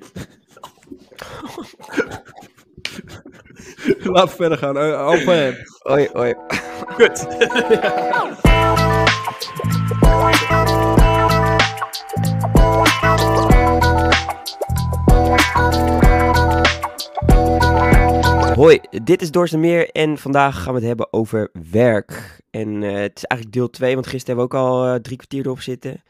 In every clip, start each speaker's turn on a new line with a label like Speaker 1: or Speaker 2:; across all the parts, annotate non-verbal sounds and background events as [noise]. Speaker 1: [laughs] Laten we verder gaan. Eh, Alphen.
Speaker 2: Oi, oi.
Speaker 3: Kut.
Speaker 2: [laughs] Hoi, dit is Dorsten Meer en vandaag gaan we het hebben over werk. En eh, het is eigenlijk deel 2, want gisteren hebben we ook al eh, drie kwartier erop zitten.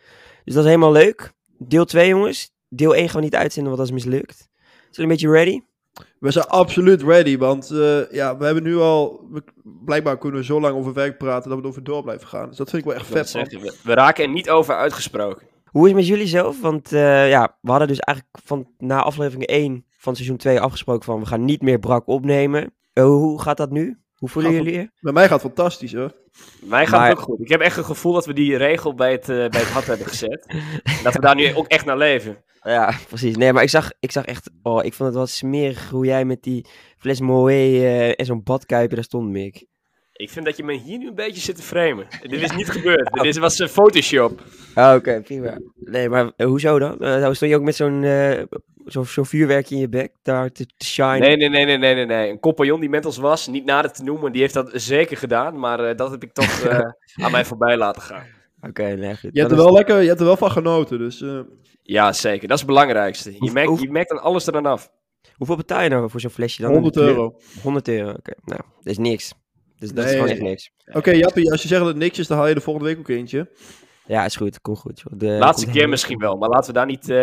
Speaker 2: Dus dat is helemaal leuk. Deel 2 jongens. Deel 1 gaan we niet uitzenden, want dat is mislukt. Zijn jullie een beetje ready?
Speaker 1: We zijn absoluut ready, want eh, ja, we hebben nu al... we- blijkbaar kunnen we zo lang over werk praten dat we erover door blijven gaan. Dus dat vind ik wel echt
Speaker 3: Dat
Speaker 1: vet. man.
Speaker 3: zegt- we, we raken er niet over uitgesproken.
Speaker 2: Hoe is het met jullie zelf? Want eh, ja, we hadden dus eigenlijk van na aflevering 1 van seizoen 2 afgesproken van we gaan niet meer brak opnemen. Eh, hoe gaat dat nu? Hoe voelen
Speaker 1: Gaat
Speaker 2: jullie je?
Speaker 1: Bij mij gaat het fantastisch, hoor.
Speaker 3: Mij gaat
Speaker 2: Maar-
Speaker 3: het ook goed. Ik heb echt het gevoel dat we die regel bij het, eh, bij het hart hebben gezet. En Dat we daar nu ook echt naar leven.
Speaker 2: Ja, [laughs] precies. Nee, maar ik zag, ik zag echt... Oh, ik vond het wel smerig hoe jij met die fles Moët eh, en zo'n badkuipje daar stond, Mick.
Speaker 3: Ik vind dat je me hier nu een beetje zit te framen. Dit is niet gebeurd. Dit is- was een Photoshop.
Speaker 2: Ah, oké, prima. Nee, maar eh, hoeso dan? Eh, nou, stond je ook met zo'n eh, zo, zo'n vuurwerkje in je bek daar te, te shine?
Speaker 3: Nee, nee, nee, nee, nee, nee, nee. Een compagnon die met ons was, niet nader te noemen, die heeft dat zeker gedaan. Maar eh, dat heb ik
Speaker 2: [laughs]
Speaker 3: toch eh, aan mij voorbij laten gaan.
Speaker 2: Oké, nee, goed.
Speaker 1: Je
Speaker 2: Dan
Speaker 1: hebt, er
Speaker 2: is-
Speaker 1: wel lekker, je hebt er wel van genoten, dus... eh,
Speaker 3: Ja, zeker. Dat is het belangrijkste. Je
Speaker 2: Hoef-
Speaker 3: merkt,
Speaker 2: hoef-
Speaker 3: je merkt dan alles eraan af.
Speaker 2: Hoeveel betaal je nou voor zo'n flesje dan?
Speaker 1: 100 euro.
Speaker 2: 100 euro, oké. Nou, dat is niks. Dus dat is
Speaker 1: Nee.
Speaker 2: gewoon echt niks.
Speaker 1: Oké, Jappie, als je zegt dat het niks is, dan haal je de volgende week ook eentje.
Speaker 2: Ja, is goed. Komt Eh, goed. joh. De,
Speaker 3: Laatste
Speaker 2: komt
Speaker 3: keer
Speaker 2: helemaal
Speaker 3: misschien wel, maar laten we daar niet... eh,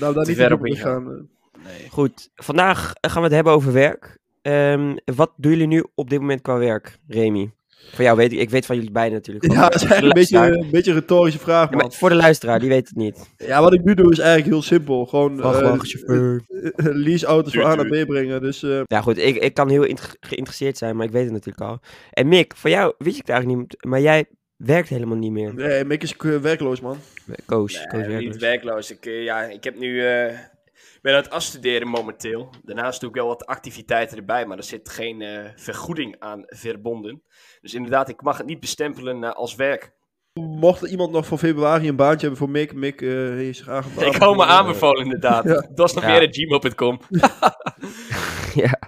Speaker 1: Nou, daar
Speaker 3: Te
Speaker 1: niet
Speaker 3: ver
Speaker 1: te
Speaker 3: op
Speaker 1: diep
Speaker 3: ingaan.
Speaker 1: gaan.
Speaker 3: nee.
Speaker 2: Goed, vandaag eh, gaan we het hebben over werk. Ehm, wat doen jullie nu op dit moment qua werk, Remy? Van jou weet ik, ik weet van jullie beiden natuurlijk.
Speaker 1: eh. [laughs] Ja,
Speaker 2: wel.
Speaker 1: dat is eigenlijk een beetje, een beetje een retorische vraag,
Speaker 2: Ja, maar
Speaker 1: man.
Speaker 2: voor de luisteraar, die weet het
Speaker 1: [laughs]
Speaker 2: niet.
Speaker 1: Ja, wat ik nu doe is eigenlijk heel simpel. Gewoon eh,
Speaker 2: Vrachtwagenchauffeur.
Speaker 1: eh, [laughs] leaseauto's van A naar B brengen. Dus eh,
Speaker 2: Ja goed, ik, ik kan heel int- geïnteresseerd zijn, maar ik weet het natuurlijk al. En Mick, van jou wist ik het eigenlijk niet, maar jij werkt helemaal niet meer.
Speaker 1: nee, Mick is eh, werkloos, man.
Speaker 2: Koos, Koos
Speaker 3: Nee, niet
Speaker 2: werkloos.
Speaker 3: werkloos. Ik, eh, ja, ik heb nu, eh, ik ben aan het afstuderen momenteel. Daarnaast doe ik wel wat activiteiten erbij, maar er zit geen eh, vergoeding aan verbonden. Dus inderdaad, ik mag het niet bestempelen eh, als werk.
Speaker 1: Mocht er iemand nog voor februari een baantje hebben voor Mick, Mick eh heeft zich aangemeld.
Speaker 3: ik hou me aanbevolen inderdaad. Dat is nog
Speaker 2: Ja.
Speaker 3: meer gmail.com.
Speaker 2: Ja.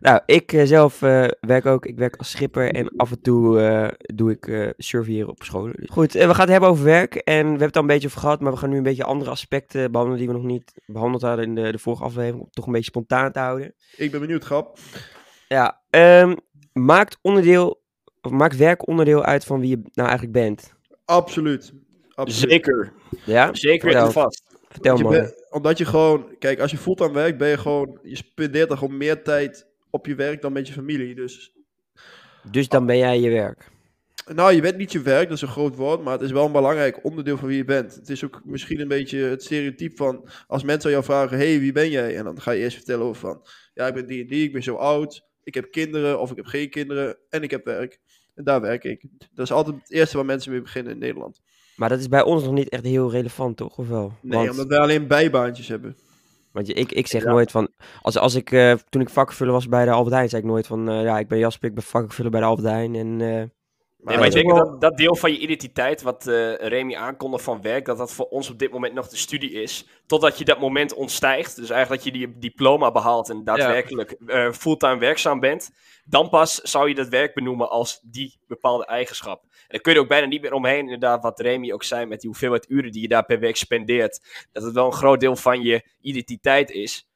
Speaker 2: Nou, ik eh, zelf eh, werk ook. Ik werk als schipper en af en toe eh, doe ik eh surveilleren op scholen. Dus Goed, eh, we gaan het hebben over werk en we hebben het al een beetje over gehad, maar we gaan nu een beetje andere aspecten behandelen die we nog niet behandeld hadden in de, de vorige aflevering, om het toch een beetje spontaan te houden.
Speaker 1: Ik ben benieuwd, grap.
Speaker 2: Ja, ehm, maakt onderdeel, of maakt werk onderdeel uit van wie je nou eigenlijk bent?
Speaker 1: Absoluut. Absoluut.
Speaker 3: Zeker.
Speaker 2: Ja?
Speaker 3: Zeker
Speaker 2: Vertel.
Speaker 3: en vast.
Speaker 2: Vertel
Speaker 1: Je
Speaker 2: maar.
Speaker 1: bent- omdat je gewoon, kijk, als je fulltime werkt, ben je gewoon, je spendeert dan gewoon meer tijd op je werk dan met je familie. Dus,
Speaker 2: Dus dan ben jij je werk.
Speaker 1: nou, je bent niet je werk, dat is een groot woord, maar het is wel een belangrijk onderdeel van wie je bent. Het is ook misschien een beetje het stereotype van, als mensen aan jou vragen, hé, hey, wie ben jij? En dan ga je eerst vertellen over van, ja, ik ben die en die, ik ben zo oud, ik heb kinderen of ik heb geen kinderen en ik heb werk. En daar werk ik. Dat is altijd het eerste waar mensen mee beginnen in Nederland.
Speaker 2: Maar dat is bij ons nog niet echt heel relevant, toch? Of wel?
Speaker 1: Nee,
Speaker 2: Want-
Speaker 1: omdat wij alleen bijbaantjes hebben.
Speaker 2: Want je- ik, ik zeg nooit van... Als, als ik, eh, toen ik vakkenvuller was bij de Albert Heijn, zei ik nooit van... eh, ja, ik ben Jasper, ik ben vakkenvuller bij de Albert Heijn. En, eh,
Speaker 3: Nee,
Speaker 1: dat
Speaker 3: maar ik
Speaker 1: is ook
Speaker 3: denk
Speaker 1: wel-
Speaker 3: dat dat deel van je identiteit, wat eh, Remy aankondigt van werk, dat dat voor ons op dit moment nog de studie is. Totdat je dat moment ontstijgt. Dus eigenlijk dat je die diploma behaalt en daadwerkelijk eh, fulltime werkzaam bent. Dan pas zou je dat werk benoemen als die bepaalde eigenschap. En daar kun je er ook bijna niet meer omheen, inderdaad, wat Remy ook zei met die hoeveelheid uren die je daar per week spendeert. Dat het wel een groot deel van je identiteit is.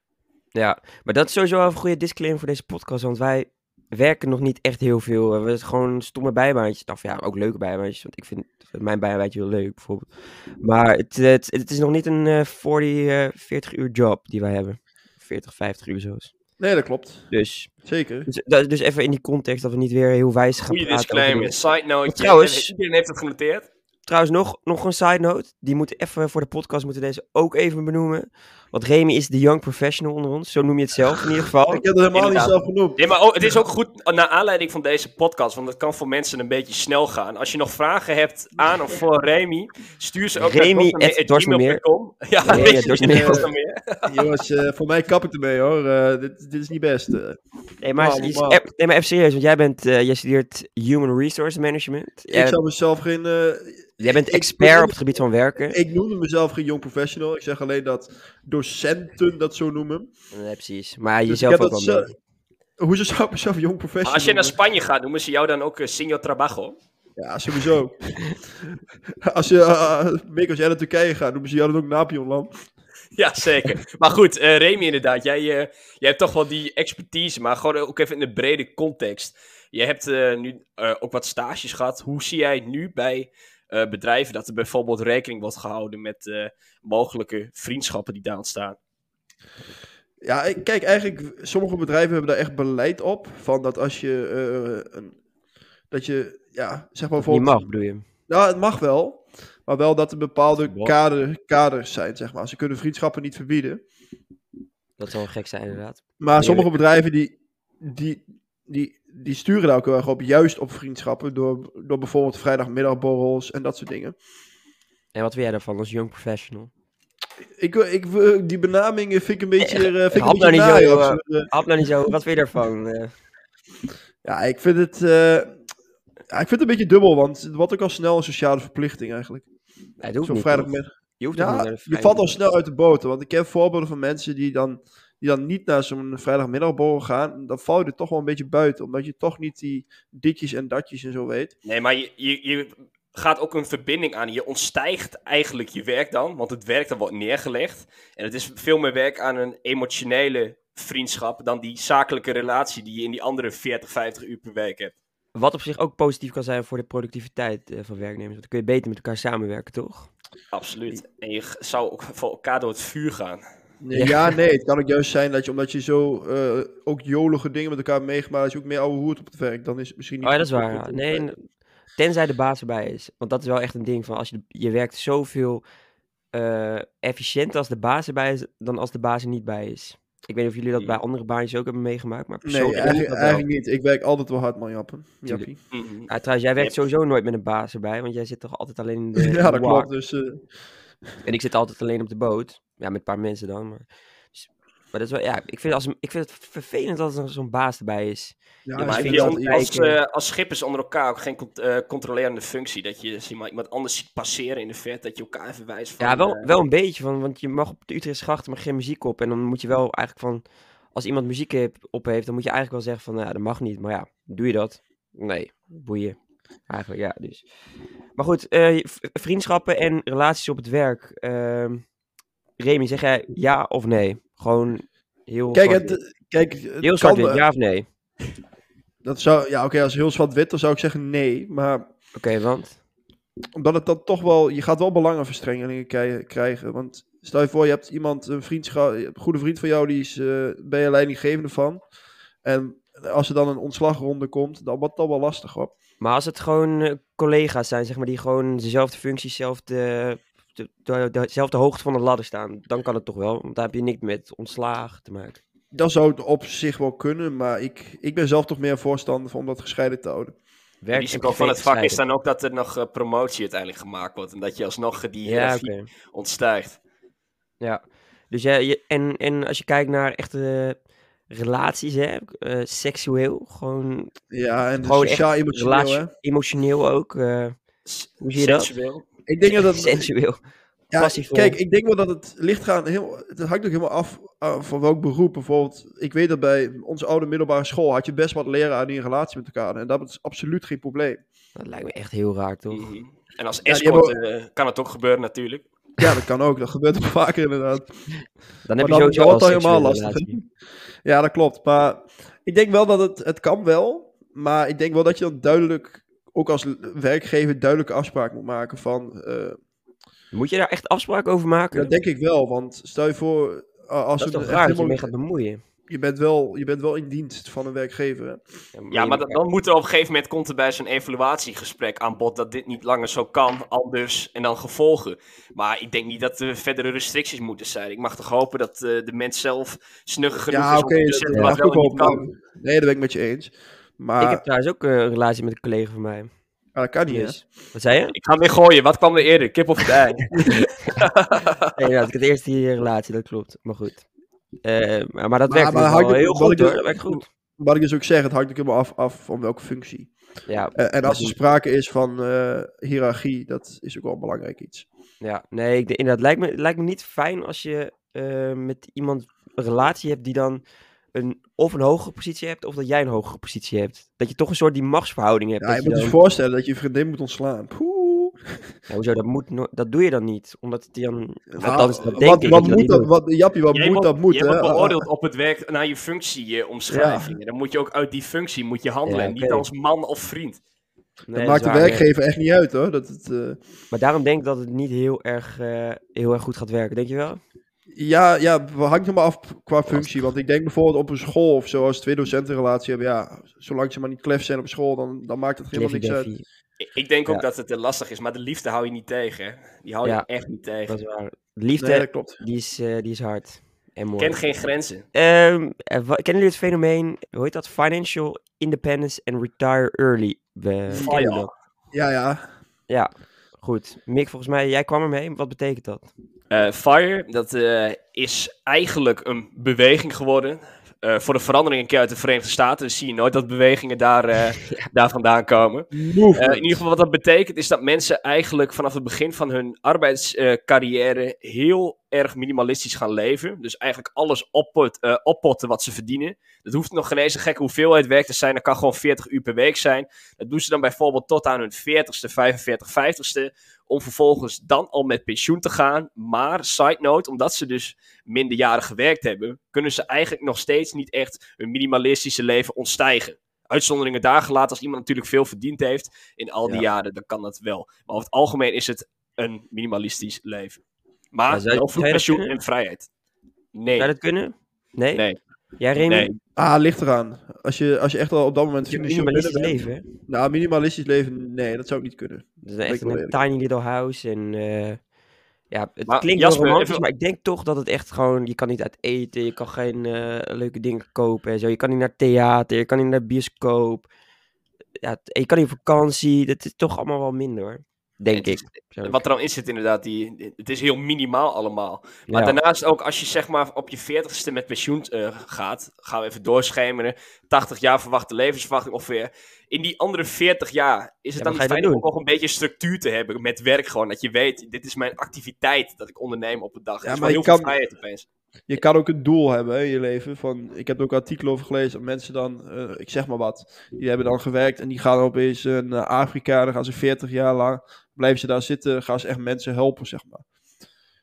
Speaker 2: ja, maar dat is sowieso wel een goede disclaimer voor deze podcast. Want wij werken nog niet echt heel veel. Eh, We hebben gewoon stomme bijbaantjes. Of ja, ook leuke bijbaantjes. Want ik vind mijn bijbaantje heel leuk, bijvoorbeeld. Maar het, eh, het, het is nog niet een eh 40, eh 40 uur job die wij hebben. 40, 50 uur zelfs.
Speaker 1: Nee, dat klopt.
Speaker 2: Dus,
Speaker 1: Zeker.
Speaker 2: dus, dat- dus even in die context dat we niet weer heel wijs gaan
Speaker 3: Goede
Speaker 2: praten. over dingen.
Speaker 3: disclaimer. Side note.
Speaker 2: Trouwens-
Speaker 3: Iedereen heeft het genoteerd.
Speaker 2: Trouwens, nog, nog een side note. Die moeten even voor de podcast moeten we deze ook even benoemen. Want Remy is de young professional onder ons. Zo noem je het zelf in ieder
Speaker 1: [laughs]
Speaker 2: geval.
Speaker 1: Ik heb het helemaal niet
Speaker 3: Inderdaad.
Speaker 1: zelf genoemd.
Speaker 3: Nee, maar oh, het is ook goed naar aanleiding van deze podcast, want dat kan voor mensen een beetje snel gaan. Als je nog vragen hebt aan of voor Remy, stuur ze ook
Speaker 2: Remy
Speaker 3: naar
Speaker 2: at dorstenmeer.
Speaker 3: dorstenmeer@gmail.com. [laughs] Ja,
Speaker 2: Remy at dorstenmeer.
Speaker 3: dorstenmeer.
Speaker 1: Jongens, eh, voor mij kap ik ermee hoor. Eh, dit, dit is niet best. eh.
Speaker 2: Nee, maar,
Speaker 1: Wauw,
Speaker 2: is-
Speaker 1: wauw.
Speaker 2: eh, nee, maar even serieus. Want jij, bent, eh, jij studeert Human Resource Management. Jij,
Speaker 1: ik zou mezelf geen. eh,
Speaker 2: jij bent
Speaker 1: ik-
Speaker 2: expert op het gebied van werken.
Speaker 1: ik noemde mezelf geen jong professional. Ik zeg alleen dat docenten dat zo noemen.
Speaker 2: Eh, Nee, precies. Maar
Speaker 1: Dus ik
Speaker 2: jezelf
Speaker 1: heb
Speaker 2: ook
Speaker 1: dat
Speaker 2: wel
Speaker 1: zelf-
Speaker 2: mee.
Speaker 1: Hoe ze zou ik mezelf jong professional
Speaker 3: Maar als je naar
Speaker 1: noemen?
Speaker 3: Spanje gaat, noemen ze jou dan ook eh, Senor Trabajo. [laughs]
Speaker 1: Ja, sowieso. [laughs] als je, eh, Mick, als jij naar Turkije gaat, noemen ze jou dan ook Napionland.
Speaker 3: Ja, zeker. Maar goed, eh, Remy inderdaad. Jij, eh, jij hebt toch wel die expertise, maar gewoon ook even in de brede context. Je hebt eh, nu eh, ook wat stages gehad. Hoe zie jij nu bij eh, bedrijven dat er bijvoorbeeld rekening wordt gehouden met eh, mogelijke vriendschappen die daar ontstaan?
Speaker 1: Ja, ik- kijk, eigenlijk, sommige bedrijven hebben daar echt beleid op. Van dat als je, eh, een, dat je, ja, zeg maar
Speaker 2: Niet
Speaker 1: bijvoorbeeld...
Speaker 2: mag, bedoel je?
Speaker 1: Nou, het mag wel. Maar wel dat er bepaalde
Speaker 2: Wat?
Speaker 1: kader, kaders zijn, zeg maar. Ze kunnen vriendschappen niet verbieden.
Speaker 2: Dat zou gek zijn, inderdaad.
Speaker 1: Maar sommige bedrijven die, die, die, die sturen daar ook heel erg op. Juist op vriendschappen. Door, door bijvoorbeeld vrijdagmiddagborrels en dat soort dingen.
Speaker 2: En wat wil jij daarvan als young professional?
Speaker 1: Ik, ik, die benamingen vind ik een beetje, eh, vind ik
Speaker 2: hap
Speaker 1: een beetje
Speaker 2: nou niet
Speaker 1: naar,
Speaker 2: zo,
Speaker 1: joh. Eh,
Speaker 2: Hap nou niet zo, wat wil je daarvan? Eh,
Speaker 1: Ja, ik vind het... eh, ja, ik vind het een beetje dubbel, want het wordt ook al snel een sociale verplichting eigenlijk.
Speaker 2: het hoeft
Speaker 1: Zo'n
Speaker 2: niet,
Speaker 1: vrijdagmiddag.
Speaker 2: toch? Je hoeft toch niet
Speaker 1: Ja,
Speaker 2: naar de
Speaker 1: je valt al
Speaker 2: vrijdagmiddag?
Speaker 1: snel uit de boter. Want ik ken voorbeelden van mensen die dan, die dan niet naar zo'n vrijdagmiddagborrel gaan. Dan val je er toch wel een beetje buiten. Omdat je toch niet die ditjes en datjes en zo weet.
Speaker 3: Nee, maar je, je, je gaat ook een verbinding aan. Je ontstijgt eigenlijk je werk dan, want het werk dan wordt neergelegd. En het is veel meer werk aan een emotionele vriendschap dan die zakelijke relatie die je in die andere 40, 50 uur per week hebt.
Speaker 2: Wat op zich ook positief kan zijn voor de productiviteit eh, van werknemers. Want dan kun je beter met elkaar samenwerken, toch?
Speaker 3: Absoluut. En je g- zou ook voor elkaar door het vuur gaan.
Speaker 1: Nee,
Speaker 2: Ja.
Speaker 1: ja. nee. Het kan ook juist zijn dat je, omdat je zo eh, ook jolige dingen met elkaar hebt meegemaakt. Als je ook meer oude hoert op het werk. Dan is het misschien niet.
Speaker 2: Oh ja, dat is
Speaker 1: goed
Speaker 2: waar.
Speaker 1: om
Speaker 2: ja.
Speaker 1: te
Speaker 2: Nee,
Speaker 1: ontwijken.
Speaker 2: n- tenzij de baas erbij is. Want dat is wel echt een ding van als je, je werkt zoveel eh efficiënter als de baas erbij is dan als de baas er niet bij is. Ik weet niet of jullie dat bij andere baantjes ook hebben meegemaakt, maar
Speaker 1: Mm. Nee,
Speaker 2: persoonlijk heb ik
Speaker 1: eigenlijk,
Speaker 2: dat wel.
Speaker 1: eigenlijk niet. Ik werk altijd wel hard, man, Jappen.
Speaker 2: Tuurlijk.
Speaker 1: Jappie.
Speaker 2: Ah, trouwens, jij werkt
Speaker 3: Yep.
Speaker 2: sowieso nooit met een baas erbij, want jij zit toch altijd alleen in de in
Speaker 1: [laughs]
Speaker 2: de
Speaker 1: Ja,
Speaker 2: war.
Speaker 1: dat klopt. Dus, eh,
Speaker 2: En ik zit altijd alleen op de boot. Ja, met een paar mensen dan. Maar, dus- maar dat is wel, ja, ik vind, als, een- ik vind het vervelend als er zo'n baas erbij is.
Speaker 1: ja,
Speaker 2: maar
Speaker 1: ik
Speaker 3: maar heb
Speaker 1: vind
Speaker 3: je
Speaker 1: dat-
Speaker 2: on-
Speaker 3: on-
Speaker 1: ja,
Speaker 3: als,
Speaker 1: ik-
Speaker 2: kijken.
Speaker 3: eh, als schippers onder elkaar ook geen cont- eh, controlerende functie? Dat je zeg maar, iemand anders ziet passeren in de vet, dat je elkaar even wijst van...
Speaker 2: Ja, wel,
Speaker 3: eh,
Speaker 2: wel een beetje. Van, want je mag op de Utrechtse grachten maar geen muziek op. En dan moet je wel eigenlijk van... Als iemand muziek heb- op heeft, dan moet je eigenlijk wel zeggen van... nou Ja, dat mag niet. Maar ja, doe je dat? Nee, boeien. Eigenlijk, ja, dus. Maar goed, eh, v- vriendschappen en relaties op het werk. Ehm Remy, zeg jij ja of nee? Gewoon heel
Speaker 1: Kijk,
Speaker 2: zwart-wit.
Speaker 1: het, kijk, het
Speaker 2: Heel
Speaker 1: kan,
Speaker 2: zwart wit,
Speaker 1: eh,
Speaker 2: ja of nee? Oké,
Speaker 1: dat zou, ja, oké, als heel zwart-wit, dan zou ik zeggen nee. Maar
Speaker 2: want...
Speaker 1: Omdat het dan toch wel, je gaat wel belangenverstrengelingen kei- krijgen. Want stel je voor, je hebt iemand, een vriendschap, een goede vriend van jou, die is, eh ben je leidinggevende van. En als er dan een ontslagronde komt, dan wordt dat wel lastig hoor.
Speaker 2: Maar als het gewoon eh, collega's zijn, zeg maar, die gewoon dezelfde functie, dezelfde, de, de- dezelfde hoogte van de ladder staan, dan kan het toch wel. Want daar heb je niks met ontslagen te maken.
Speaker 1: Dat zou het op zich wel kunnen, maar ik, ik ben zelf toch meer voorstander van om dat gescheiden te houden.
Speaker 3: Het
Speaker 2: Werk
Speaker 3: risico
Speaker 2: en
Speaker 3: van het
Speaker 2: privé
Speaker 3: vak is
Speaker 2: gescheiden.
Speaker 3: dan ook dat er nog eh, promotie uiteindelijk gemaakt wordt. En dat je alsnog eh, die
Speaker 2: Ja,
Speaker 3: hiërarchie
Speaker 2: oké.
Speaker 3: ontstijgt.
Speaker 2: Ja. Dus jij, je, en, en als je kijkt naar echte relaties, hè, eh, seksueel, gewoon
Speaker 1: Ja, en
Speaker 2: Gewoon echt
Speaker 1: sociaal emotioneel
Speaker 2: relatie,
Speaker 1: hè.
Speaker 2: emotioneel ook. eh,
Speaker 3: S-
Speaker 2: Hoe zie je dat?
Speaker 3: Sensueel.
Speaker 1: Ik denk dat
Speaker 2: [laughs]
Speaker 1: dat,
Speaker 2: sensueel.
Speaker 1: Ja,
Speaker 2: Passievol.
Speaker 1: Kijk, ik denk wel dat het licht gaan heel. Het hangt ook helemaal af eh, van welk beroep. Bijvoorbeeld, ik weet dat bij onze oude middelbare school had je best wat leraren die een relatie met elkaar hadden. En dat is absoluut geen probleem.
Speaker 2: Dat lijkt me echt heel raar, toch?
Speaker 3: Mhm. En als
Speaker 1: die
Speaker 3: escort eh, kan het ook gebeuren natuurlijk.
Speaker 1: Ja, dat kan ook. Dat gebeurt ook [laughs] vaker inderdaad.
Speaker 2: Dan heb
Speaker 1: dan-
Speaker 2: je sowieso
Speaker 1: dan
Speaker 2: al
Speaker 1: wordt het al
Speaker 2: helemaal
Speaker 1: helemaal lastig, hè? [laughs] Ja, dat klopt. Maar ik denk wel dat het, het kan wel. Maar ik denk wel dat je dan duidelijk, ook als l- werkgever, duidelijke afspraak moet maken van. eh,
Speaker 2: Moet je daar echt afspraken over maken?
Speaker 1: dat denk ik wel. Want stel je voor, eh, als
Speaker 2: Dat is
Speaker 1: het
Speaker 2: toch
Speaker 1: echt
Speaker 2: raar dat je
Speaker 1: helemaal-
Speaker 2: mee gaat bemoeien?
Speaker 1: je bent wel, je bent wel in dienst van een werkgever. hè.
Speaker 3: Ja, maar
Speaker 2: je-
Speaker 3: dan, dan moet er op een gegeven moment komt er bij zo'n evaluatiegesprek aan bod dat dit niet langer zo kan, anders en dan gevolgen. Maar ik denk niet dat er verdere restricties moeten zijn. Ik mag toch hopen dat eh, de mens zelf snugger genoeg
Speaker 1: Ja,
Speaker 3: is
Speaker 1: oké,
Speaker 3: om te
Speaker 1: dat
Speaker 3: beseffen
Speaker 1: dat
Speaker 3: wat
Speaker 1: mag ik ook
Speaker 3: wel en niet
Speaker 1: wel.
Speaker 3: kan.
Speaker 1: maar- Nee, dat ben ik met je eens. Maar
Speaker 2: Ik heb trouwens ook eh, een relatie met een collega van mij.
Speaker 1: ah, dat kan niet, hè?
Speaker 2: Dus- Wat zei je?
Speaker 3: Ik ga hem weer gooien. Wat kwam er eerder? Kip of het ei?
Speaker 2: Nee, ja, ik had eerst die eh, relatie, dat klopt. Maar goed. Eh, maar, maar dat
Speaker 1: Maar-
Speaker 2: werkt
Speaker 1: maar
Speaker 2: in ieder
Speaker 1: houdt
Speaker 2: geval
Speaker 1: het-
Speaker 2: heel
Speaker 1: wat
Speaker 2: goed
Speaker 1: ik
Speaker 2: hoor.
Speaker 1: dus-
Speaker 2: Dat werkt
Speaker 1: [laughs]
Speaker 2: goed.
Speaker 1: Wat ik dus ook zeg, het hangt ook helemaal af, af van welke functie.
Speaker 2: Ja,
Speaker 1: En, en als er
Speaker 2: Mhm.
Speaker 1: sprake is van eh hiërarchie, dat is ook wel een belangrijk iets.
Speaker 2: ja. nee, ik, denk- inderdaad. Het lijkt me, het lijkt me niet fijn als je eh, met iemand een relatie hebt die dan een, of een hogere positie hebt, of dat jij een hogere positie hebt. Dat je toch een soort die machtsverhouding hebt.
Speaker 1: Ja,
Speaker 2: dat
Speaker 1: je
Speaker 2: je
Speaker 1: moet dus- je
Speaker 2: dan-
Speaker 1: voorstellen dat je je vriendin moet ontslaan. Poeh.
Speaker 2: Ja, hoezo, dat, moet no- dat doe je dan niet. Omdat het dan...
Speaker 1: Nou,
Speaker 2: dat is- dat denk
Speaker 1: wat,
Speaker 2: ik
Speaker 1: wat
Speaker 2: dat
Speaker 1: moet
Speaker 2: die
Speaker 1: dat,
Speaker 2: doet.
Speaker 1: wat, Jappie, wat
Speaker 3: Jij
Speaker 1: moet
Speaker 3: wordt-
Speaker 1: [laughs] dat moet,
Speaker 3: jij wordt
Speaker 1: hè?
Speaker 3: beoordeeld op het werk naar je functie eh, omschrijving. En dan moet je ook uit die functie moet je handelen.
Speaker 2: Ja,
Speaker 3: Niet
Speaker 2: oké.
Speaker 3: als man of vriend.
Speaker 2: Nee,
Speaker 1: Dat
Speaker 2: is
Speaker 1: maakt de
Speaker 2: waar, ja.
Speaker 1: werkgever echt niet uit, hoor. Dat het, eh,
Speaker 2: Maar daarom denk ik dat het niet heel erg, eh, heel erg goed gaat werken, denk je wel?
Speaker 1: Ja, ja, hangt er maar af qua functie. Want ik denk bijvoorbeeld op een school of zo, als twee docenten een relatie hebben, ja, zolang ze maar niet klef zijn op school, dan, dan maakt het helemaal niks uit.
Speaker 2: Cliffy-daffy,
Speaker 3: Ik, ik denk ook
Speaker 2: Ja.
Speaker 3: dat het eh, lastig is. Maar de liefde hou je niet tegen. hè. Die hou je
Speaker 2: Ja.
Speaker 3: echt niet tegen.
Speaker 2: Dat is waar. Liefde,
Speaker 1: Nee, dat klopt.
Speaker 2: die, is, eh, die is hard en mooi.
Speaker 3: Kent geen grenzen.
Speaker 2: Ehm, eh, wa- kennen jullie het fenomeen, hoe heet dat? Financial Independence and Retire Early. We- kennen jullie dat?
Speaker 1: Ja, ja.
Speaker 2: Ja, goed. Mick, volgens mij, jij kwam ermee. Wat betekent dat?
Speaker 3: Eh, FIRE, dat eh, is eigenlijk een beweging geworden. Eh, voor de verandering een keer uit de Verenigde Staten. Dus zie je nooit dat bewegingen
Speaker 2: [laughs]
Speaker 3: daar, eh, daar vandaan komen. Eh, in ieder geval wat dat betekent is dat mensen eigenlijk vanaf het begin van hun arbeidscarrière heel erg minimalistisch gaan leven. Dus eigenlijk alles oppot, eh, oppotten wat ze verdienen. Dat hoeft nog geen eens een gekke hoeveelheid werk te zijn. Dat kan gewoon 40 uur per week zijn. Dat doen ze dan bijvoorbeeld tot aan hun 40ste, 45, 50ste. Om vervolgens dan al met pensioen te gaan. Maar, side note, omdat ze dus minderjarig gewerkt hebben, kunnen ze eigenlijk nog steeds niet echt hun minimalistische leven ontstijgen. Uitzonderingen daar gelaten als iemand natuurlijk veel verdiend heeft in al die
Speaker 2: Ja.
Speaker 3: jaren, dan kan dat wel. Maar over het algemeen is het een minimalistisch leven. Maar
Speaker 2: Ja, zou-
Speaker 3: wel
Speaker 2: zou
Speaker 3: vroeg
Speaker 2: je dat
Speaker 3: pensioen
Speaker 2: kunnen?
Speaker 3: en vrijheid. Nee,
Speaker 2: Zou dat kunnen? Nee?
Speaker 3: nee,
Speaker 2: Jij, Remy?
Speaker 3: nee.
Speaker 1: Ah, ligt eraan. Als je, als je echt al op dat moment
Speaker 2: Je hebt een
Speaker 1: financieel
Speaker 2: minimalistisch
Speaker 1: binnen
Speaker 2: leven, hè?
Speaker 1: bent- Nou, minimalistisch leven, nee, dat zou ik niet kunnen.
Speaker 2: Dat is echt
Speaker 1: ik wel
Speaker 2: een
Speaker 1: eerlijk.
Speaker 2: tiny little house en... eh, ja, het
Speaker 3: Maar
Speaker 2: klinkt
Speaker 3: Jasper,
Speaker 2: wel romantisch,
Speaker 3: even-
Speaker 2: maar ik denk toch dat het echt gewoon... Je kan niet uit eten, je kan geen eh, leuke dingen kopen en zo. Je kan niet naar theater, je kan niet naar bioscoop. Ja, t- en je kan niet op vakantie. Dat is toch allemaal wel minder, hoor. Denk
Speaker 3: Het is-
Speaker 2: ik. persoonlijk.
Speaker 3: Wat er dan in zit inderdaad, die, het is heel minimaal allemaal. Maar
Speaker 2: Ja.
Speaker 3: daarnaast ook, als je zeg maar op je 40ste met pensioen eh, gaat, gaan we even doorschemeren, 80 jaar verwachte levensverwachting ongeveer. In die andere 40 jaar is het
Speaker 2: Ja,
Speaker 3: dan
Speaker 2: wat ga je dan
Speaker 3: fijn om
Speaker 2: doen?
Speaker 3: ook nog een beetje structuur te hebben met werk gewoon. Dat je weet, dit is mijn activiteit dat ik onderneem op een dag.
Speaker 1: maar
Speaker 3: Ja, dat is maar
Speaker 1: je
Speaker 3: heel veel
Speaker 1: kan-
Speaker 3: vrijheid opeens.
Speaker 1: Je kan ook een doel hebben hè, in je leven. Van, ik heb er ook artikelen over gelezen. dat Mensen dan, eh, ik zeg maar wat, die hebben dan gewerkt en die gaan opeens eh, naar Afrika. Dan gaan ze 40 jaar lang, blijven ze daar zitten, gaan ze echt mensen helpen, zeg maar.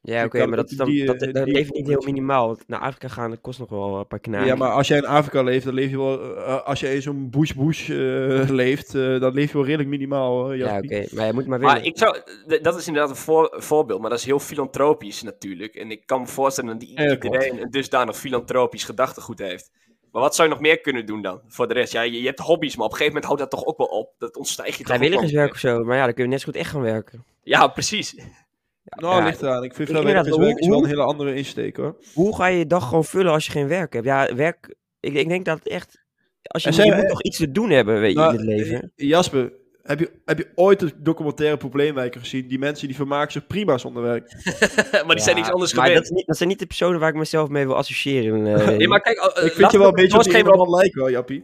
Speaker 2: Ja,
Speaker 1: Je
Speaker 2: oké,
Speaker 1: kan
Speaker 2: maar
Speaker 1: ook
Speaker 2: dat, is dan,
Speaker 1: die,
Speaker 2: dat,
Speaker 1: eh,
Speaker 2: dat
Speaker 1: die
Speaker 2: leeft niet heel
Speaker 1: mensen-
Speaker 2: minimaal. Want naar Afrika gaan, dat kost nog wel een paar knaken.
Speaker 1: Ja, maar als jij in Afrika leeft, dan leef je wel. eh, als jij in zo'n bush-bush eh, [laughs] leeft, eh, dan leef je wel redelijk minimaal. hoor,
Speaker 2: Ja,
Speaker 1: Jaspie.
Speaker 2: oké, maar je moet maar willen.
Speaker 3: Maar ik zou, d- dat is inderdaad een voor- voorbeeld, maar dat is heel filantropisch natuurlijk. En ik kan me voorstellen dat die-
Speaker 1: Ja, dat
Speaker 3: iedereen een dusdanig filantropisch gedachtegoed heeft. Maar wat zou je nog meer kunnen doen dan voor de rest? Ja, je, je hebt hobby's, maar op een gegeven moment houdt dat toch ook wel op. Dat ontstijg je toch ook wel.
Speaker 2: Vrijwilligerswerk of zo, maar ja, dan kun je net zo goed echt gaan werken.
Speaker 3: Ja, precies. [laughs]
Speaker 1: Nou,
Speaker 2: Ja,
Speaker 1: ligt eraan. Ik vind
Speaker 2: ik- inderdaad,
Speaker 1: vrijwilligerswerk
Speaker 2: hoe-
Speaker 1: is wel een
Speaker 2: hoe-
Speaker 1: hele andere insteek hoor.
Speaker 2: Hoe ga je je dag gewoon vullen als je geen werk hebt? Ja, werk, ik, ik denk dat het echt... Als je,
Speaker 1: Er zijn-
Speaker 2: je moet toch iets te doen hebben weet je,
Speaker 1: Nou,
Speaker 2: in het leven.
Speaker 1: eh, Jasper, heb je, heb je ooit de documentaire Probleemwijker gezien? Die mensen die vermaken zich prima zonder werk.
Speaker 3: maar die zijn
Speaker 2: Ja,
Speaker 3: niks anders
Speaker 2: maar dat,
Speaker 3: gewend.
Speaker 2: is niet, dat zijn niet de personen waar ik mezelf mee wil associëren. eh.
Speaker 3: Nee, maar kijk, eh,
Speaker 1: ik vind
Speaker 3: laten
Speaker 1: je
Speaker 3: we
Speaker 1: wel een beetje op die
Speaker 3: doorschemeren
Speaker 1: iemand lijken, hoor, Jappie.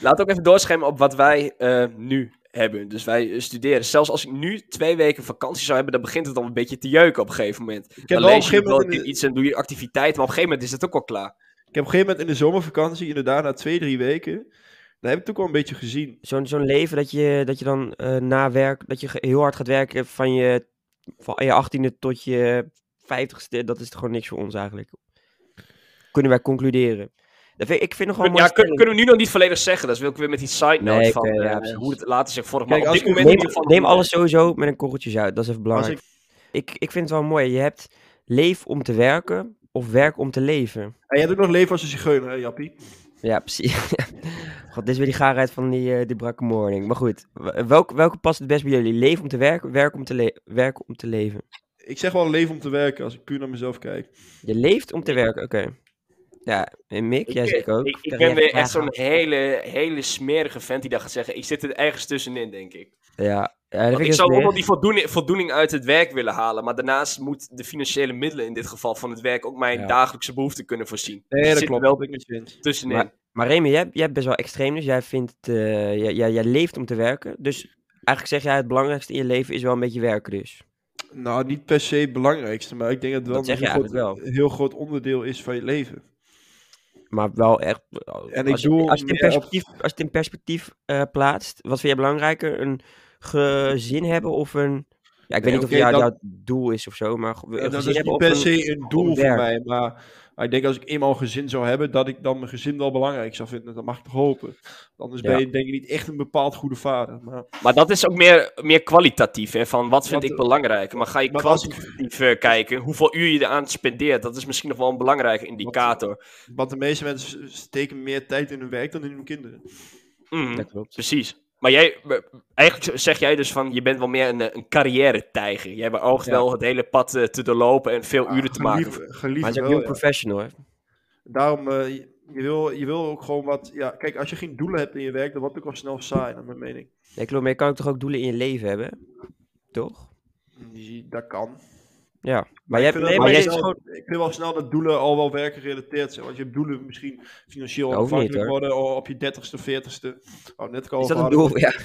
Speaker 3: Laat ook even doorschemeren op wat wij eh, nu hebben. Dus wij eh, studeren. Zelfs als ik nu twee weken vakantie zou hebben, dan begint het al een beetje te jeuken op een gegeven moment.
Speaker 1: Ik heb,
Speaker 3: Dan
Speaker 1: wel op een
Speaker 3: lees je
Speaker 1: gegeven
Speaker 3: wel
Speaker 1: moment in de,
Speaker 3: iets en doe je activiteiten, maar op een gegeven moment is dat ook al klaar.
Speaker 1: ik heb op een gegeven moment in de zomervakantie, inderdaad, na twee, drie weken. Dan heb ik het ook wel een beetje gezien.
Speaker 2: Zo'n zo'n leven dat je, dat je dan eh, na werk, dat je ge- heel hard gaat werken van je, van je 18e tot je 50ste, dat is toch gewoon niks voor ons eigenlijk. Kunnen wij concluderen. Dat vind, ik vind nog wel een
Speaker 3: ja,
Speaker 2: mooie
Speaker 3: kun-
Speaker 2: stelling.
Speaker 3: kunnen we nu nog niet volledig zeggen. Dat wil ik weer met die side note
Speaker 2: Nee,
Speaker 3: van
Speaker 2: oké,
Speaker 3: eh,
Speaker 2: ja, precies.
Speaker 3: hoe het later zich vormt.
Speaker 1: Kijk,
Speaker 3: Maar op
Speaker 1: als
Speaker 3: dit
Speaker 1: ik-
Speaker 3: moment in ieder
Speaker 2: Neem,
Speaker 3: geval
Speaker 2: neem
Speaker 3: nog
Speaker 2: alles sowieso met een korreltjes uit, dat is even
Speaker 1: Als
Speaker 2: belangrijk.
Speaker 1: ik,
Speaker 2: Ik, ik vind het wel mooi. Je hebt leef om te werken of werk om te leven.
Speaker 1: en je hebt ook nog leven als een zigeuner, hè, Jappie?
Speaker 2: Ja,
Speaker 3: [laughs]
Speaker 2: precies. God, dit is weer die gaarheid van die, eh die brakke morning. Maar goed, w- welke, welke past het best bij jullie? Leven om te werken, werk om te, le- werk om te leven.
Speaker 1: Ik zeg wel leven om te werken, als ik puur naar mezelf kijk.
Speaker 2: Je leeft om te werken, oké. Ja, en Mick, jij
Speaker 3: Ik-
Speaker 2: zeker ook.
Speaker 3: Ik, ik
Speaker 2: Krijg
Speaker 3: ben
Speaker 2: jij
Speaker 3: weer echt
Speaker 2: vragen?
Speaker 3: zo'n hele, hele smerige vent die dat gaat zeggen. Ik zit er ergens tussenin, denk ik.
Speaker 2: Ja, ja dat
Speaker 3: Want
Speaker 2: vind
Speaker 3: ik
Speaker 2: ik
Speaker 3: zou ook wel
Speaker 2: wel
Speaker 3: die voldoening, voldoening uit het werk willen halen. Maar daarnaast moet de financiële middelen in dit geval van het werk ook mijn
Speaker 2: Ja.
Speaker 3: dagelijkse behoeften kunnen voorzien. Dus
Speaker 1: Nee,
Speaker 3: ik
Speaker 1: dat
Speaker 3: zit
Speaker 1: klopt.
Speaker 3: er
Speaker 1: Wel, ik met je eens.
Speaker 3: wel tussenin.
Speaker 2: Maar- Maar Remy, jij, jij bent best wel extreem, dus jij vindt, eh, jij, jij, jij leeft om te werken. Dus eigenlijk zeg jij het belangrijkste in je leven is wel een beetje werken dus.
Speaker 1: Nou, niet per se het belangrijkste, maar ik denk dat het wel
Speaker 2: Dat zeg
Speaker 1: een
Speaker 2: je
Speaker 1: heel groot,
Speaker 2: eigenlijk
Speaker 1: heel groot onderdeel is van je leven.
Speaker 2: Maar wel echt.
Speaker 1: En ik
Speaker 2: als, je-
Speaker 1: doe
Speaker 2: als je het in
Speaker 1: meer op-
Speaker 2: perspectief, als je het in perspectief eh, plaatst, wat vind jij belangrijker? Een gezin hebben of een. Ja, ik weet
Speaker 1: Nee,
Speaker 2: niet of
Speaker 1: oké,
Speaker 2: jou-
Speaker 1: dat-
Speaker 2: jouw doel is of zo, maar ge-
Speaker 1: Ja,
Speaker 2: een
Speaker 1: dat
Speaker 2: gezin
Speaker 1: is
Speaker 2: hebben
Speaker 1: niet
Speaker 2: of
Speaker 1: per
Speaker 2: een,
Speaker 1: se een doel voor
Speaker 2: werk.
Speaker 1: mij, maar, maar ik denk als ik eenmaal een gezin zou hebben, dat ik dan mijn gezin wel belangrijk zou vinden. Dat mag ik toch hopen. Anders ben
Speaker 2: Ja.
Speaker 1: je denk ik niet echt een bepaald goede vader. Maar,
Speaker 3: Maar dat is ook meer, meer kwalitatief, hè, van wat vind
Speaker 1: Want,
Speaker 3: ik belangrijk. Maar ga je
Speaker 1: maar als ik-
Speaker 3: kwantitatief eh, kijken, hoeveel uur je eraan spendeert, dat is misschien nog wel een belangrijke indicator.
Speaker 1: want de meeste mensen steken meer tijd in hun werk dan in hun kinderen.
Speaker 3: Mhm,
Speaker 2: Dat klopt.
Speaker 3: precies. Maar jij, eh, eigenlijk zeg jij dus van, je bent wel meer een, eh, een carrière-tijger. Jij beoogt
Speaker 1: Ja. Ah,
Speaker 3: wel het hele pad eh, te doorlopen en veel uren te maken.
Speaker 1: Geliefd-
Speaker 2: Maar
Speaker 1: geliefd
Speaker 2: het is ook
Speaker 1: wel,
Speaker 2: heel
Speaker 1: ja.
Speaker 2: professional, hè?
Speaker 1: Daarom, eh, je, wil, je wil ook gewoon wat... Ja, kijk, als je geen doelen hebt in je werk, dan wordt het ook al snel saai, naar mijn mening.
Speaker 2: Nee, klopt, maar je kan ook toch ook doelen in je leven hebben? Toch?
Speaker 1: Die- Dat kan.
Speaker 2: Ja. Maar, jij,
Speaker 1: ik vind,
Speaker 2: nee,
Speaker 1: wel
Speaker 2: maar jij
Speaker 1: snel,
Speaker 2: is gewoon.
Speaker 1: ik vind wel snel dat doelen al wel werkgerelateerd zijn. Want je hebt doelen misschien financieel
Speaker 2: Dat hoeft niet,
Speaker 1: onafhankelijk worden al op je 30ste, 40ste. Oh, net ik al
Speaker 2: Is dat, een
Speaker 1: over
Speaker 2: doel
Speaker 1: hadden.
Speaker 2: voor jou?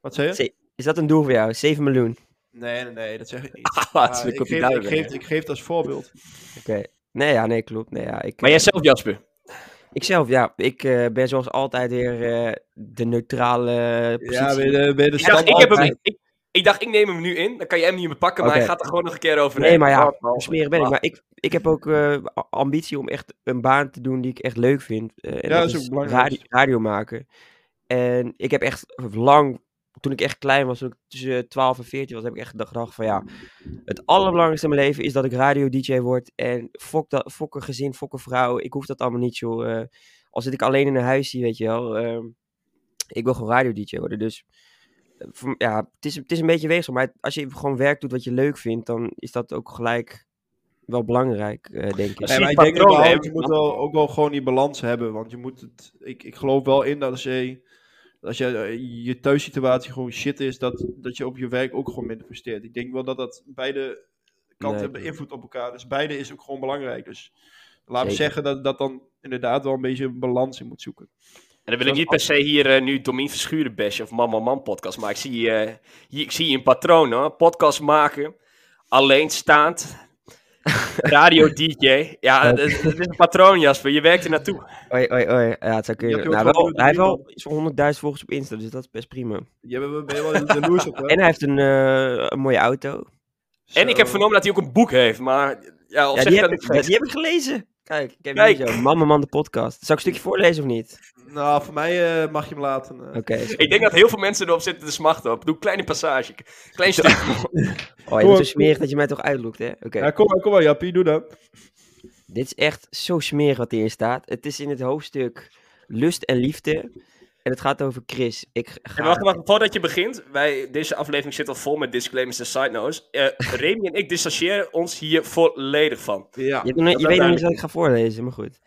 Speaker 1: Wat zei je?
Speaker 2: Ze- Is dat een doel voor jou? 7 miljoen.
Speaker 1: Nee, nee, nee, dat zeg ik niet.
Speaker 3: [laughs] Ah,
Speaker 1: Maar
Speaker 3: het is een
Speaker 1: ik,
Speaker 3: kopje
Speaker 1: geef, ik,
Speaker 3: duiven, hè.
Speaker 1: geef, ik geef het als voorbeeld.
Speaker 2: Oké. Nee, ja, nee, klopt. Nee, ja, ik,
Speaker 3: Maar jij zelf, Jasper?
Speaker 2: Ikzelf, ja. Ik eh, ben zoals altijd weer eh, de neutrale
Speaker 1: Ja,
Speaker 2: positie.
Speaker 1: ben je de, ben je de
Speaker 3: Ik dacht, ik, heb
Speaker 1: standaard-
Speaker 3: hem, ik, ik dacht, ik neem hem nu in, dan kan jij hem niet meer pakken, maar
Speaker 2: Oké.
Speaker 3: hij gaat er gewoon nog een keer overheen.
Speaker 2: nee, maar ja,
Speaker 3: Wat wel.
Speaker 2: hoe smerig ben ik. Maar ik, ik heb ook eh, a- ambitie om echt een baan te doen die ik echt leuk vind. Eh, en
Speaker 1: Ja, dat is ook belangrijk.
Speaker 2: radi- radio maken. En ik heb echt lang, toen ik echt klein was, toen ik tussen 12 en 14 was, heb ik echt gedacht van ja, het allerbelangrijkste in mijn leven is dat ik radio-dj word. En fok, dat, fok een gezin, fok een vrouw. Ik hoef dat allemaal niet, joh. Eh, al zit ik alleen in een huisje, weet je wel. ehm, ik wil gewoon radio-dj worden, dus... eh, voor- Ja, het is, het is een beetje weegsel, maar het- als je gewoon werk doet wat je leuk vindt, dan is dat ook gelijk wel belangrijk, eh, denk ik.
Speaker 1: Nee, maar ik
Speaker 3: Precies,
Speaker 1: denk
Speaker 3: patronen
Speaker 1: überhaupt,
Speaker 3: hebben.
Speaker 1: je moet wel, ook wel gewoon die balans hebben. Want je moet het. Ik, ik geloof wel in dat als je. Als je, eh, je thuissituatie gewoon shit is, dat, dat je op je werk ook gewoon minder presteert. Ik denk wel dat dat beide kanten
Speaker 2: Nee.
Speaker 1: hebben invloed op elkaar. Dus beide is ook gewoon belangrijk. Dus laat me
Speaker 2: Zeker.
Speaker 1: zeggen dat dat dan inderdaad wel een beetje een balans in moet zoeken.
Speaker 3: En dan wil ik niet per se hier eh, nu Domien Verschuren bashen of Man Man Man podcast, maar ik zie, eh, hier, ik zie een patroon hoor. Podcast maken, alleenstaand,
Speaker 2: [laughs]
Speaker 3: radio DJ. Ja, dat is, dat is een patroon Jasper, je werkt er naartoe.
Speaker 2: Oei, oei, oei. Ja, het zou
Speaker 1: Je hebt
Speaker 2: kunnen.
Speaker 1: ook
Speaker 2: Nou,
Speaker 1: wel
Speaker 2: wel,
Speaker 1: een
Speaker 2: hij heeft wel
Speaker 1: miljoen.
Speaker 2: zo'n 100.000 volgers op Insta, dus dat is best prima.
Speaker 1: Je bent ben je wel jaloers op, hè?
Speaker 2: En hij heeft een, eh, een mooie auto.
Speaker 3: En ik heb
Speaker 1: Zo.
Speaker 3: vernomen dat hij ook een boek heeft, maar ja, of
Speaker 2: Ja, die
Speaker 3: zeg ik
Speaker 2: heb,
Speaker 3: dat
Speaker 2: ik,
Speaker 3: niet?
Speaker 2: die heb ik gelezen. Kijk, ik heb
Speaker 3: Kijk.
Speaker 2: hier zo. Mama Man de podcast. Zal ik een stukje voorlezen of niet?
Speaker 1: Nou, voor mij eh, mag je hem laten. eh.
Speaker 2: Oké. is goed.
Speaker 3: Ik denk dat heel veel mensen erop zitten te smachten op. Doe een kleine passage, klein stuk.
Speaker 2: Oh, je bent zo smerig dat je mij toch uitlokt, hè? Oké.
Speaker 1: Ja, kom maar, kom maar, Jappie, doe dat.
Speaker 2: Dit is echt zo smerig wat hier staat. Het is in het hoofdstuk Lust en Liefde. En het gaat over Chris. Ik
Speaker 3: En
Speaker 2: ga...
Speaker 3: wacht, wacht, voordat je begint, wij, deze aflevering zit al vol met disclaimers en side notes. Eh, Remy en ik distancieren ons hier volledig van.
Speaker 1: Ja.
Speaker 2: Je, hebt nog niet- je
Speaker 1: dat
Speaker 2: weet nog niet
Speaker 3: duidelijk.
Speaker 2: wat ik ga voorlezen, maar goed.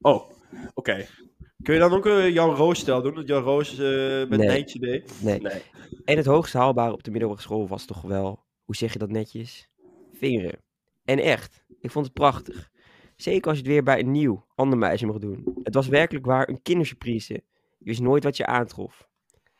Speaker 3: Oh, oké.
Speaker 1: Kun je dan ook eh, Jan Roos stel doen? Dat Jan Roos eh, met
Speaker 2: Nee.
Speaker 1: een eindje deed.
Speaker 2: Nee.
Speaker 3: Nee.
Speaker 2: En het hoogst haalbare op de middelbare school was toch wel, hoe zeg je dat netjes? Vingeren. En echt, ik vond het prachtig. Zeker als je het weer bij een nieuw, ander meisje mocht doen. Het was werkelijk waar een kindersurprise. Je wist nooit wat je aantrof.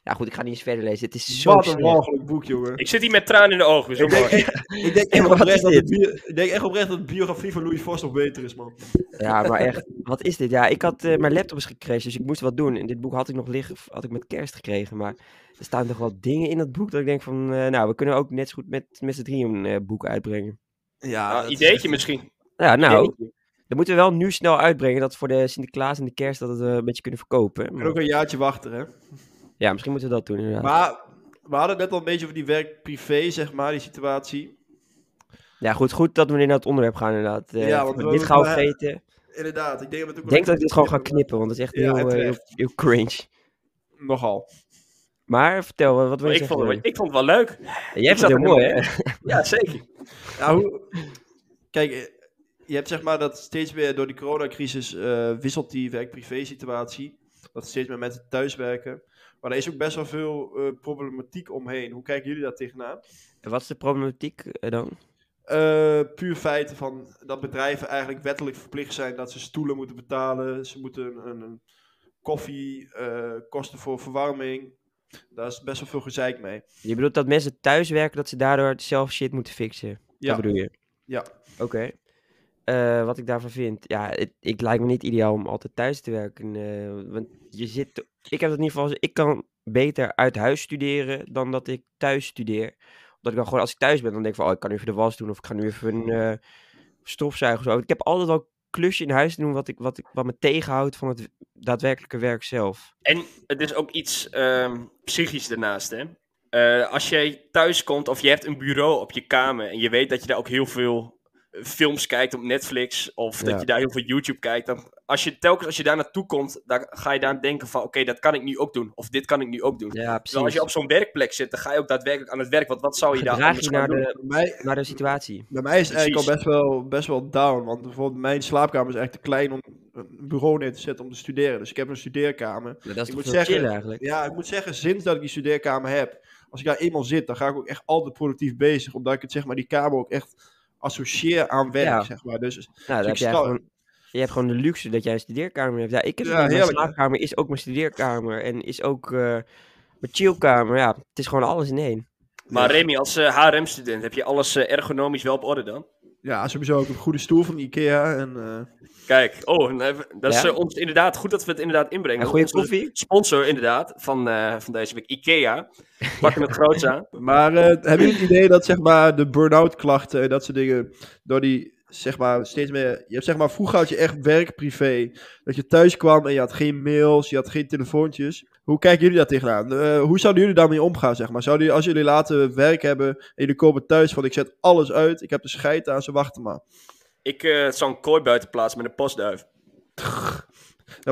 Speaker 2: Ja goed, ik ga niet eens verder lezen. Het is zo
Speaker 1: Wat een
Speaker 2: slecht.
Speaker 1: walgelijk boek, jongen.
Speaker 3: Ik zit hier met tranen in de ogen. dus Zo
Speaker 1: Ik denk,
Speaker 3: mooi.
Speaker 1: echt,
Speaker 2: [laughs]
Speaker 1: ik, denk echt
Speaker 2: En wat
Speaker 1: oprecht
Speaker 2: is
Speaker 1: dat de
Speaker 2: dit?
Speaker 1: bio- ik denk echt oprecht dat de biografie van Louis Vos nog beter is, man.
Speaker 2: Ja, maar echt, wat is dit? Ja, ik had, eh, mijn laptop is gecrashed, dus ik moest wat doen. En dit boek had ik nog liggen, of had ik met kerst gekregen. Maar er staan toch wel dingen in dat boek dat ik denk van... eh, nou, we kunnen ook net zo goed met, met z'n drieën een eh, boek uitbrengen.
Speaker 1: Ja,
Speaker 3: Nou, ideetje misschien.
Speaker 2: Ja, nou,
Speaker 3: Ideetje.
Speaker 2: Dat moeten we wel nu snel uitbrengen. Dat we voor de Sinterklaas en de kerst dat we een beetje kunnen verkopen.
Speaker 1: We
Speaker 2: Maar-
Speaker 1: kunnen ook een jaartje wachten, hè.
Speaker 2: ja, misschien moeten we dat doen inderdaad.
Speaker 1: Maar we hadden het net al een beetje over die werk-privé, zeg maar, die situatie.
Speaker 2: ja, goed, goed dat we in dat onderwerp gaan inderdaad. Eh,
Speaker 1: Ja, want we-
Speaker 2: dit gaan we
Speaker 1: we-
Speaker 2: vergeten.
Speaker 1: Inderdaad, ik denk dat we het ook
Speaker 2: Ik denk dat ik dit gewoon ga knippen, want het is echt
Speaker 1: Ja,
Speaker 2: heel, eh, heel,
Speaker 1: terecht.
Speaker 2: heel cringe.
Speaker 1: Nogal.
Speaker 2: Maar vertel, wat, wat wil je
Speaker 3: Ik
Speaker 2: zeggen?
Speaker 3: vond, het, wel-
Speaker 2: Jordi?
Speaker 3: ik vond het wel leuk.
Speaker 2: Jij
Speaker 3: ik
Speaker 2: vindt het
Speaker 3: zat
Speaker 2: heel
Speaker 3: er
Speaker 2: mooi, hè?
Speaker 3: Ja, zeker.
Speaker 1: Ja, hoe... Kijk, eh, je hebt zeg maar dat steeds meer door die coronacrisis eh, wisselt die werk-privé situatie. Dat steeds meer mensen thuiswerken. Maar er is ook best wel veel eh, problematiek omheen. Hoe kijken jullie daar tegenaan?
Speaker 2: En Wat is de problematiek eh, dan?
Speaker 1: Eh, puur feiten van dat bedrijven eigenlijk wettelijk verplicht zijn dat ze stoelen moeten betalen. Ze moeten een, een, een koffie, eh, kosten voor verwarming. Daar is best wel veel gezeik mee.
Speaker 2: Je bedoelt dat mensen thuis werken, dat ze daardoor zelf shit moeten fixen.
Speaker 1: Ja,
Speaker 2: Dat bedoel je?
Speaker 1: ja.
Speaker 2: Oké. eh, wat ik daarvan vind. Ja, het, ik lijkt me niet ideaal om altijd thuis te werken. eh, want je zit. Ik heb het in ieder geval. Ik kan beter uit huis studeren dan dat ik thuis studeer. Omdat ik dan gewoon als ik thuis ben, dan denk ik van, oh, ik kan nu even de was doen of ik ga nu even een eh stofzuigen of zo. Ik heb altijd al klusje in huis te doen wat, ik, wat, ik, wat me tegenhoudt van het daadwerkelijke werk zelf.
Speaker 3: En het is ook iets ehm, psychisch daarnaast, hè. Eh, als jij thuis komt of je hebt een bureau op je kamer en je weet dat je daar ook heel veel eh, films kijkt op Netflix of
Speaker 2: Ja.
Speaker 3: dat je daar heel veel YouTube kijkt, dan als je telkens als je daar naartoe komt, dan ga je daar denken van, oké, dat kan ik nu ook doen of dit kan ik nu ook doen.
Speaker 2: Ja, precies.
Speaker 3: Terwijl als je op zo'n werkplek zit, dan ga je ook daadwerkelijk aan het werk. Want wat zou je daar
Speaker 2: Gedraag
Speaker 3: anders
Speaker 2: je
Speaker 3: gaan
Speaker 2: naar
Speaker 3: doen?
Speaker 2: de,
Speaker 1: Eh, Bij mij,
Speaker 2: naar de situatie.
Speaker 1: bij mij is het eigenlijk al
Speaker 3: Precies.
Speaker 1: best wel, best wel down. Want bijvoorbeeld mijn slaapkamer is echt te klein om een bureau neer te zetten om te studeren. Dus ik heb een studeerkamer.
Speaker 2: Ja, dat is
Speaker 1: Ik
Speaker 2: toch
Speaker 1: moet
Speaker 2: veel
Speaker 1: zeggen-
Speaker 2: chill eigenlijk.
Speaker 1: Ja, ik moet zeggen, sinds dat ik die studeerkamer heb, als ik daar eenmaal zit, dan ga ik ook echt altijd productief bezig. Omdat ik het, zeg maar, die kamer ook echt associeer aan werk,
Speaker 2: Ja.
Speaker 1: zeg maar. Dus
Speaker 2: Nou, dan
Speaker 1: ik
Speaker 2: heb jij
Speaker 1: stel-
Speaker 2: gewoon, je hebt gewoon de luxe dat jij een studeerkamer hebt. Ja, ik heb
Speaker 1: Ja,
Speaker 2: inderdaad mijn
Speaker 1: heerlijk, hè?
Speaker 2: slaapkamer is ook mijn studeerkamer en is ook eh, mijn chillkamer. Ja, het is gewoon alles in één.
Speaker 3: Maar Remy, als eh, HRM-student heb je alles eh, ergonomisch wel op orde dan?
Speaker 1: ja, sowieso ook een goede stoel van Ikea. En, eh,
Speaker 3: Kijk, oh, en, eh, dat is
Speaker 2: Ja?
Speaker 3: eh, ons inderdaad goed dat we het inderdaad inbrengen.
Speaker 2: En goede
Speaker 3: Onze
Speaker 2: koffie?
Speaker 3: Sponsor inderdaad van, eh, van deze week, Ikea. Pakken het groots aan.
Speaker 1: Maar [laughs] eh, hebben jullie het idee dat, zeg maar, de burn-out klachten en dat soort dingen, door die, zeg maar, steeds meer... Je hebt, zeg maar, vroeger had je echt werk-privé. Dat je thuis kwam en je had geen mails, je had geen telefoontjes. Hoe kijken jullie daar tegenaan? Eh, hoe zouden jullie daarmee omgaan, zeg maar? Zouden jullie, als jullie later werk hebben en jullie komen thuis van, ik zet alles uit, ik heb de scheid aan, ze wachten maar.
Speaker 3: Ik eh zou een kooi buiten plaatsen met een postduif.
Speaker 1: Ja,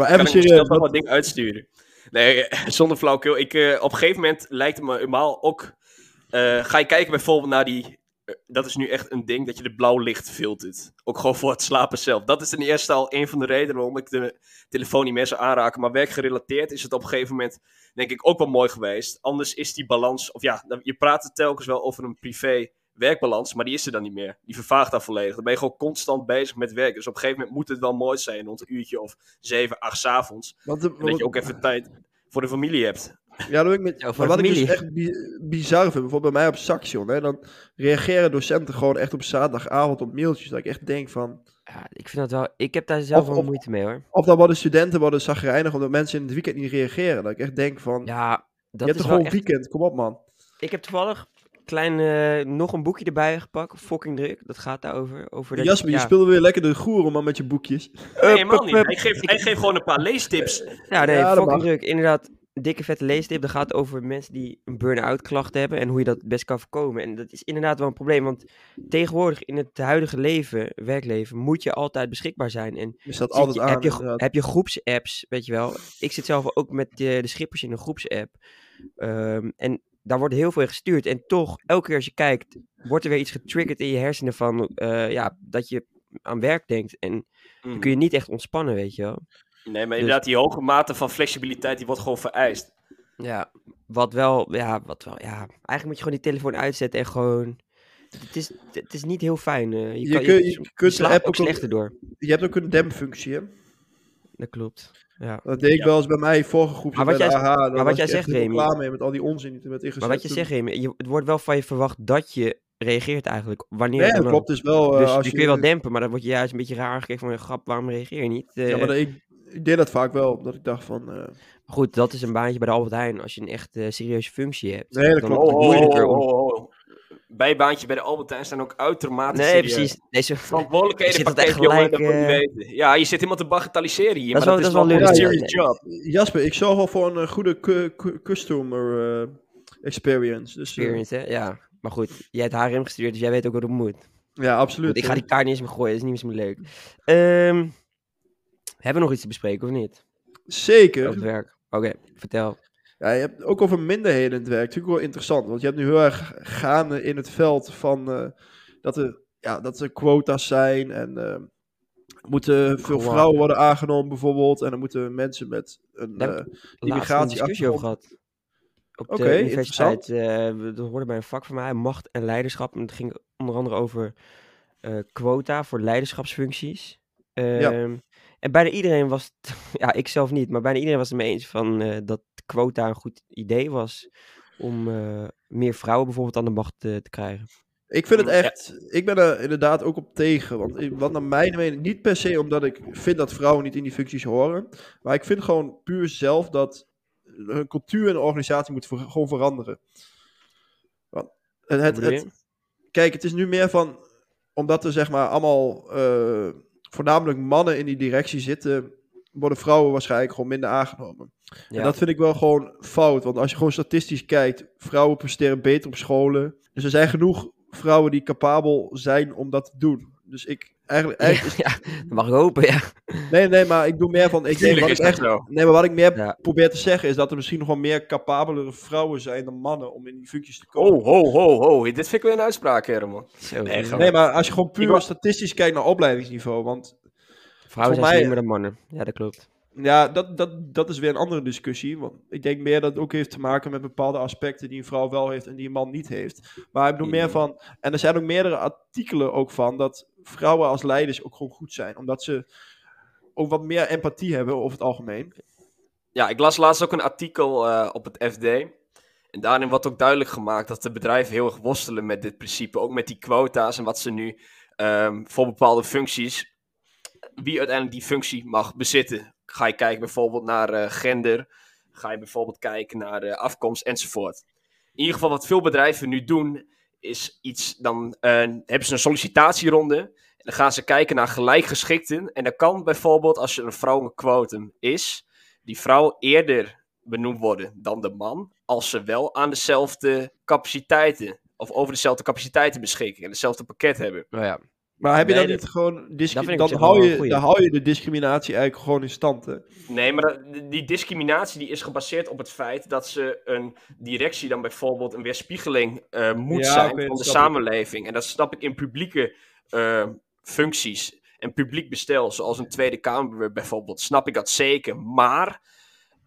Speaker 1: maar
Speaker 3: Kan
Speaker 1: even
Speaker 3: ik mezelf
Speaker 1: serieus,
Speaker 3: nog
Speaker 1: eh, wat-
Speaker 3: wat dingen uitsturen? Nee, eh, zonder flauwkul. Ik, eh, op een gegeven moment lijkt het me helemaal ook... eh, ga je kijken bijvoorbeeld naar die... eh, dat is nu echt een ding, dat je de blauw licht filtert. Ook gewoon voor het slapen zelf. Dat is ten eerste al een van de redenen waarom ik de telefoon niet meer zou aanraken. Maar werkgerelateerd is het op een gegeven moment denk ik ook wel mooi geweest. Anders is die balans... Of ja, dan- je praat er telkens wel over een privé... Werkbalans, maar die is er dan niet meer. Die vervaagt dan volledig. Dan ben je gewoon constant bezig met werk. Dus op een gegeven moment moet het wel mooi zijn, rond een uurtje of zeven, acht 's avonds.
Speaker 1: wat-
Speaker 3: En dat je ook even tijd voor de familie hebt.
Speaker 1: Ja, dat ben ik met.
Speaker 2: Ja, voor
Speaker 1: maar
Speaker 2: de
Speaker 1: wat ik
Speaker 2: familie.
Speaker 1: dus echt bi- bizar vind, bijvoorbeeld bij mij op Saxion, hè, dan reageren docenten gewoon echt op zaterdagavond op mailtjes. Dat ik echt denk van.
Speaker 2: Ja, ik vind dat wel. Ik heb daar zelf
Speaker 1: Of-
Speaker 2: wel
Speaker 1: of-
Speaker 2: moeite mee hoor.
Speaker 1: Of dan worden studenten worden zagrijnig omdat mensen in het weekend niet reageren. Dat ik echt denk van.
Speaker 2: Ja,
Speaker 1: je
Speaker 2: dat
Speaker 1: hebt
Speaker 2: is
Speaker 1: toch
Speaker 2: wel
Speaker 1: gewoon
Speaker 2: echt.
Speaker 1: weekend, kom op man.
Speaker 2: Ik heb toevallig klein eh, nog een boekje erbij gepakt. Fucking druk. Dat gaat daarover. Over dat,
Speaker 1: Jasper,
Speaker 2: ja.
Speaker 1: je speelde weer lekker de goeren man met je boekjes.
Speaker 3: Nee,
Speaker 2: Up,
Speaker 3: helemaal
Speaker 2: up,
Speaker 3: niet.
Speaker 2: up.
Speaker 3: Hij geeft, hij geeft gewoon een paar leestips.
Speaker 2: Ja, nee,
Speaker 1: Ja, dat
Speaker 2: fucking
Speaker 1: mag.
Speaker 2: druk. Inderdaad, dikke vette leestip. Dat gaat over mensen die een burn-out klachten hebben en hoe je dat best kan voorkomen. En dat is inderdaad wel een probleem, want tegenwoordig in het huidige leven, werkleven, moet je altijd beschikbaar zijn. En
Speaker 1: Je staat
Speaker 2: zit
Speaker 1: altijd
Speaker 2: je-
Speaker 1: aan.
Speaker 2: heb, je, gro-
Speaker 1: inderdaad.
Speaker 2: heb je groepsapps, weet je wel. Ik zit zelf ook met eh, de, de schippers in een groepsapp. Ehm, en daar wordt heel veel in gestuurd. En toch, elke keer als je kijkt, wordt er weer iets getriggerd in je hersenen van eh, ja, dat je aan werk denkt. En
Speaker 1: Hmm.
Speaker 2: dan kun je niet echt ontspannen, weet je dus- wel.
Speaker 3: Mm. Nee, maar inderdaad, die hoge mate van flexibiliteit, die wordt gewoon vereist.
Speaker 2: Ja, wat wel, ja, wat wel, ja. Eigenlijk moet je gewoon die telefoon uitzetten en gewoon... Het is, het is niet heel fijn. eh,
Speaker 1: Je
Speaker 2: kan-
Speaker 1: kun- je kunt de
Speaker 2: slaapt
Speaker 1: app
Speaker 2: ook
Speaker 1: ook al-
Speaker 2: slechter door.
Speaker 1: Je hebt ook een dempfunctie, hè?
Speaker 2: Dat
Speaker 1: Dus
Speaker 2: klopt. Ja.
Speaker 1: Dat deed ik
Speaker 3: Ja.
Speaker 1: wel eens bij mij vorige groep.
Speaker 2: Maar wat jij-
Speaker 1: maar
Speaker 2: wat jij zegt,
Speaker 1: helemaal
Speaker 2: Remy.
Speaker 1: klaar mee met al die onzin die er werd ingezet.
Speaker 2: Maar wat je
Speaker 1: Toen-
Speaker 2: zegt, Remy, je, het wordt wel van je verwacht dat je reageert eigenlijk. Wanneer
Speaker 1: Nee,
Speaker 2: dan
Speaker 1: dat
Speaker 2: ook.
Speaker 1: klopt. Dus wel. eh,
Speaker 2: Dus
Speaker 1: als
Speaker 2: je
Speaker 1: je,
Speaker 2: kun je wel dempen, maar dan word je juist een beetje raar aangekeken van... Grap, waarom reageer je niet? Eh,
Speaker 1: Ja, maar dat- ik, ik deed dat vaak wel, omdat ik dacht van. eh,
Speaker 2: Goed, dat is een baantje bij de Albert Heijn. Als je een echt eh, serieuze functie hebt.
Speaker 1: Nee, dat
Speaker 2: dan
Speaker 1: klopt.
Speaker 2: wordt
Speaker 3: Oh,
Speaker 2: het
Speaker 3: oh, oh,
Speaker 2: moeilijker om-
Speaker 3: oh, oh. Bijbaantjes bij de Albert Heijn staan ook uitermate
Speaker 2: Nee,
Speaker 3: serieus.
Speaker 2: precies. Deze... Je
Speaker 3: Verantwoordelijkheden
Speaker 2: zit het
Speaker 3: pakket,
Speaker 2: echt
Speaker 3: jongen, dat
Speaker 2: gelijk,
Speaker 3: moet je
Speaker 2: eh,
Speaker 3: weten. Ja, je zit helemaal te bagatelliseren hier,
Speaker 2: Dat
Speaker 3: maar
Speaker 2: is
Speaker 3: dat is
Speaker 2: wel-
Speaker 3: wel
Speaker 2: dat is
Speaker 3: gewoon
Speaker 2: wel
Speaker 3: een
Speaker 1: leuk.
Speaker 3: serious job.
Speaker 1: Jasper, ik zorg wel voor een eh, goede cu- cu- customer eh, experience. Dus, eh,
Speaker 2: Experience, hè? Ja. Maar goed, jij hebt HRM gestudeerd, dus jij weet ook wat het moet.
Speaker 1: ja, absoluut.
Speaker 2: Goed,
Speaker 1: eh.
Speaker 2: ik ga die kaart niet eens meer gooien, dat is niet eens meer leuk. Ehm, hebben we nog iets te bespreken of niet? Op het
Speaker 1: Zeker.
Speaker 2: werk. Oké, vertel.
Speaker 1: Ja, je hebt ook over minderheden in het werk. Natuurlijk wel interessant, want je hebt nu heel erg gaande in het veld van eh, dat, er, ja, dat er quota's zijn en eh, er moeten veel
Speaker 2: Gewoon.
Speaker 1: vrouwen worden aangenomen bijvoorbeeld. En dan moeten mensen met een...
Speaker 2: Daar heb
Speaker 1: eh,
Speaker 2: Laatst een
Speaker 1: Immigratie-
Speaker 2: discussie over gehad. Op de
Speaker 1: Oké,
Speaker 2: universiteit. eh, we- dat hoorde bij een vak van mij, macht en leiderschap. En het ging onder andere over eh, quota voor leiderschapsfuncties. Ehm, En bijna iedereen was, het- [laughs] ja, ik zelf niet, maar bijna iedereen was het mee eens van eh, dat quota een goed idee was om eh, meer vrouwen bijvoorbeeld aan de macht eh, te krijgen.
Speaker 1: Ik vind het echt, ik ben er inderdaad ook op tegen. Want ik- wat naar mijn mening, niet per se omdat ik vind dat vrouwen niet in die functies horen. Maar ik vind gewoon puur zelf dat hun cultuur en organisatie moet ver- gewoon veranderen. Want het, het,
Speaker 2: Wat bedoel
Speaker 1: het- kijk, het is nu meer van, omdat er zeg maar allemaal eh, voornamelijk mannen in die directie zitten, worden vrouwen waarschijnlijk gewoon minder aangenomen.
Speaker 2: Ja.
Speaker 1: En dat vind ik wel gewoon fout. Want als je gewoon statistisch kijkt, vrouwen presteren beter op scholen. Dus er zijn genoeg vrouwen die capabel zijn om dat te doen. Dus ik
Speaker 2: [laughs]
Speaker 1: eigenlijk. eigenlijk
Speaker 2: ja, dat mag ik hopen, ja.
Speaker 1: Nee, nee, maar ik doe meer van. Ik denk,
Speaker 3: Tuurlijk
Speaker 1: wat
Speaker 3: is
Speaker 1: ik
Speaker 3: dat
Speaker 1: echt,
Speaker 3: zo.
Speaker 1: nee, maar wat ik meer
Speaker 2: Ja.
Speaker 1: probeer te zeggen is dat er misschien nog wel meer capabelere vrouwen zijn dan mannen om in die functies te komen.
Speaker 3: Oh, ho, ho, ho. Dit vind ik weer een uitspraak, Herman.
Speaker 2: Zo,
Speaker 3: Nee,
Speaker 2: ja.
Speaker 3: gewoon-
Speaker 1: Nee, maar als je gewoon puur
Speaker 3: Ik wa-
Speaker 1: statistisch kijkt naar opleidingsniveau. Want
Speaker 2: Vrouwen
Speaker 1: voor
Speaker 2: zijn
Speaker 1: mij-
Speaker 2: slimmer dan mannen. Ja, dat klopt.
Speaker 1: ja, dat, dat, dat is weer een andere discussie. Want ik denk meer dat het ook heeft te maken met bepaalde aspecten die een vrouw wel heeft en die een man niet heeft. Maar ik
Speaker 2: Mm.
Speaker 1: bedoel meer van. En er zijn ook meerdere artikelen ook van dat vrouwen als leiders ook gewoon goed zijn. Omdat ze ook wat meer empathie hebben over het algemeen.
Speaker 3: Ja, ik las laatst ook een artikel eh, op het FD. En daarin wordt ook duidelijk gemaakt dat de bedrijven heel erg worstelen met dit principe. Ook met die quota's en wat ze nu ehm, voor bepaalde functies. Wie uiteindelijk die functie mag bezitten. Ga je kijken bijvoorbeeld naar eh, gender. Ga je bijvoorbeeld kijken naar eh, afkomst enzovoort. In ieder geval wat veel bedrijven nu doen. Is iets dan eh, hebben ze een sollicitatieronde. En dan gaan ze kijken naar gelijkgeschikten. En dan kan bijvoorbeeld als er een vrouwenquotum is die vrouw eerder benoemd worden dan de man, als ze wel aan dezelfde capaciteiten of over dezelfde capaciteiten beschikken en hetzelfde pakket hebben.
Speaker 2: Nou ja.
Speaker 1: Maar heb je
Speaker 3: Nee,
Speaker 1: dan niet gewoon. discri-
Speaker 2: dat vind ik op
Speaker 1: Dan,
Speaker 2: zich wel
Speaker 1: hou
Speaker 2: een
Speaker 1: je,
Speaker 2: goeie.
Speaker 1: dan hou je de discriminatie eigenlijk gewoon in stand. Hè?
Speaker 3: Nee, maar dat- die discriminatie die is gebaseerd op het feit dat ze een directie dan bijvoorbeeld een weerspiegeling eh, moet
Speaker 1: Ja,
Speaker 3: zijn
Speaker 1: oké,
Speaker 3: van
Speaker 1: dat
Speaker 3: de
Speaker 1: snap ik.
Speaker 3: samenleving. En dat snap ik in publieke eh, functies en publiek bestel, zoals een Tweede Kamer bijvoorbeeld, snap ik dat zeker. Maar,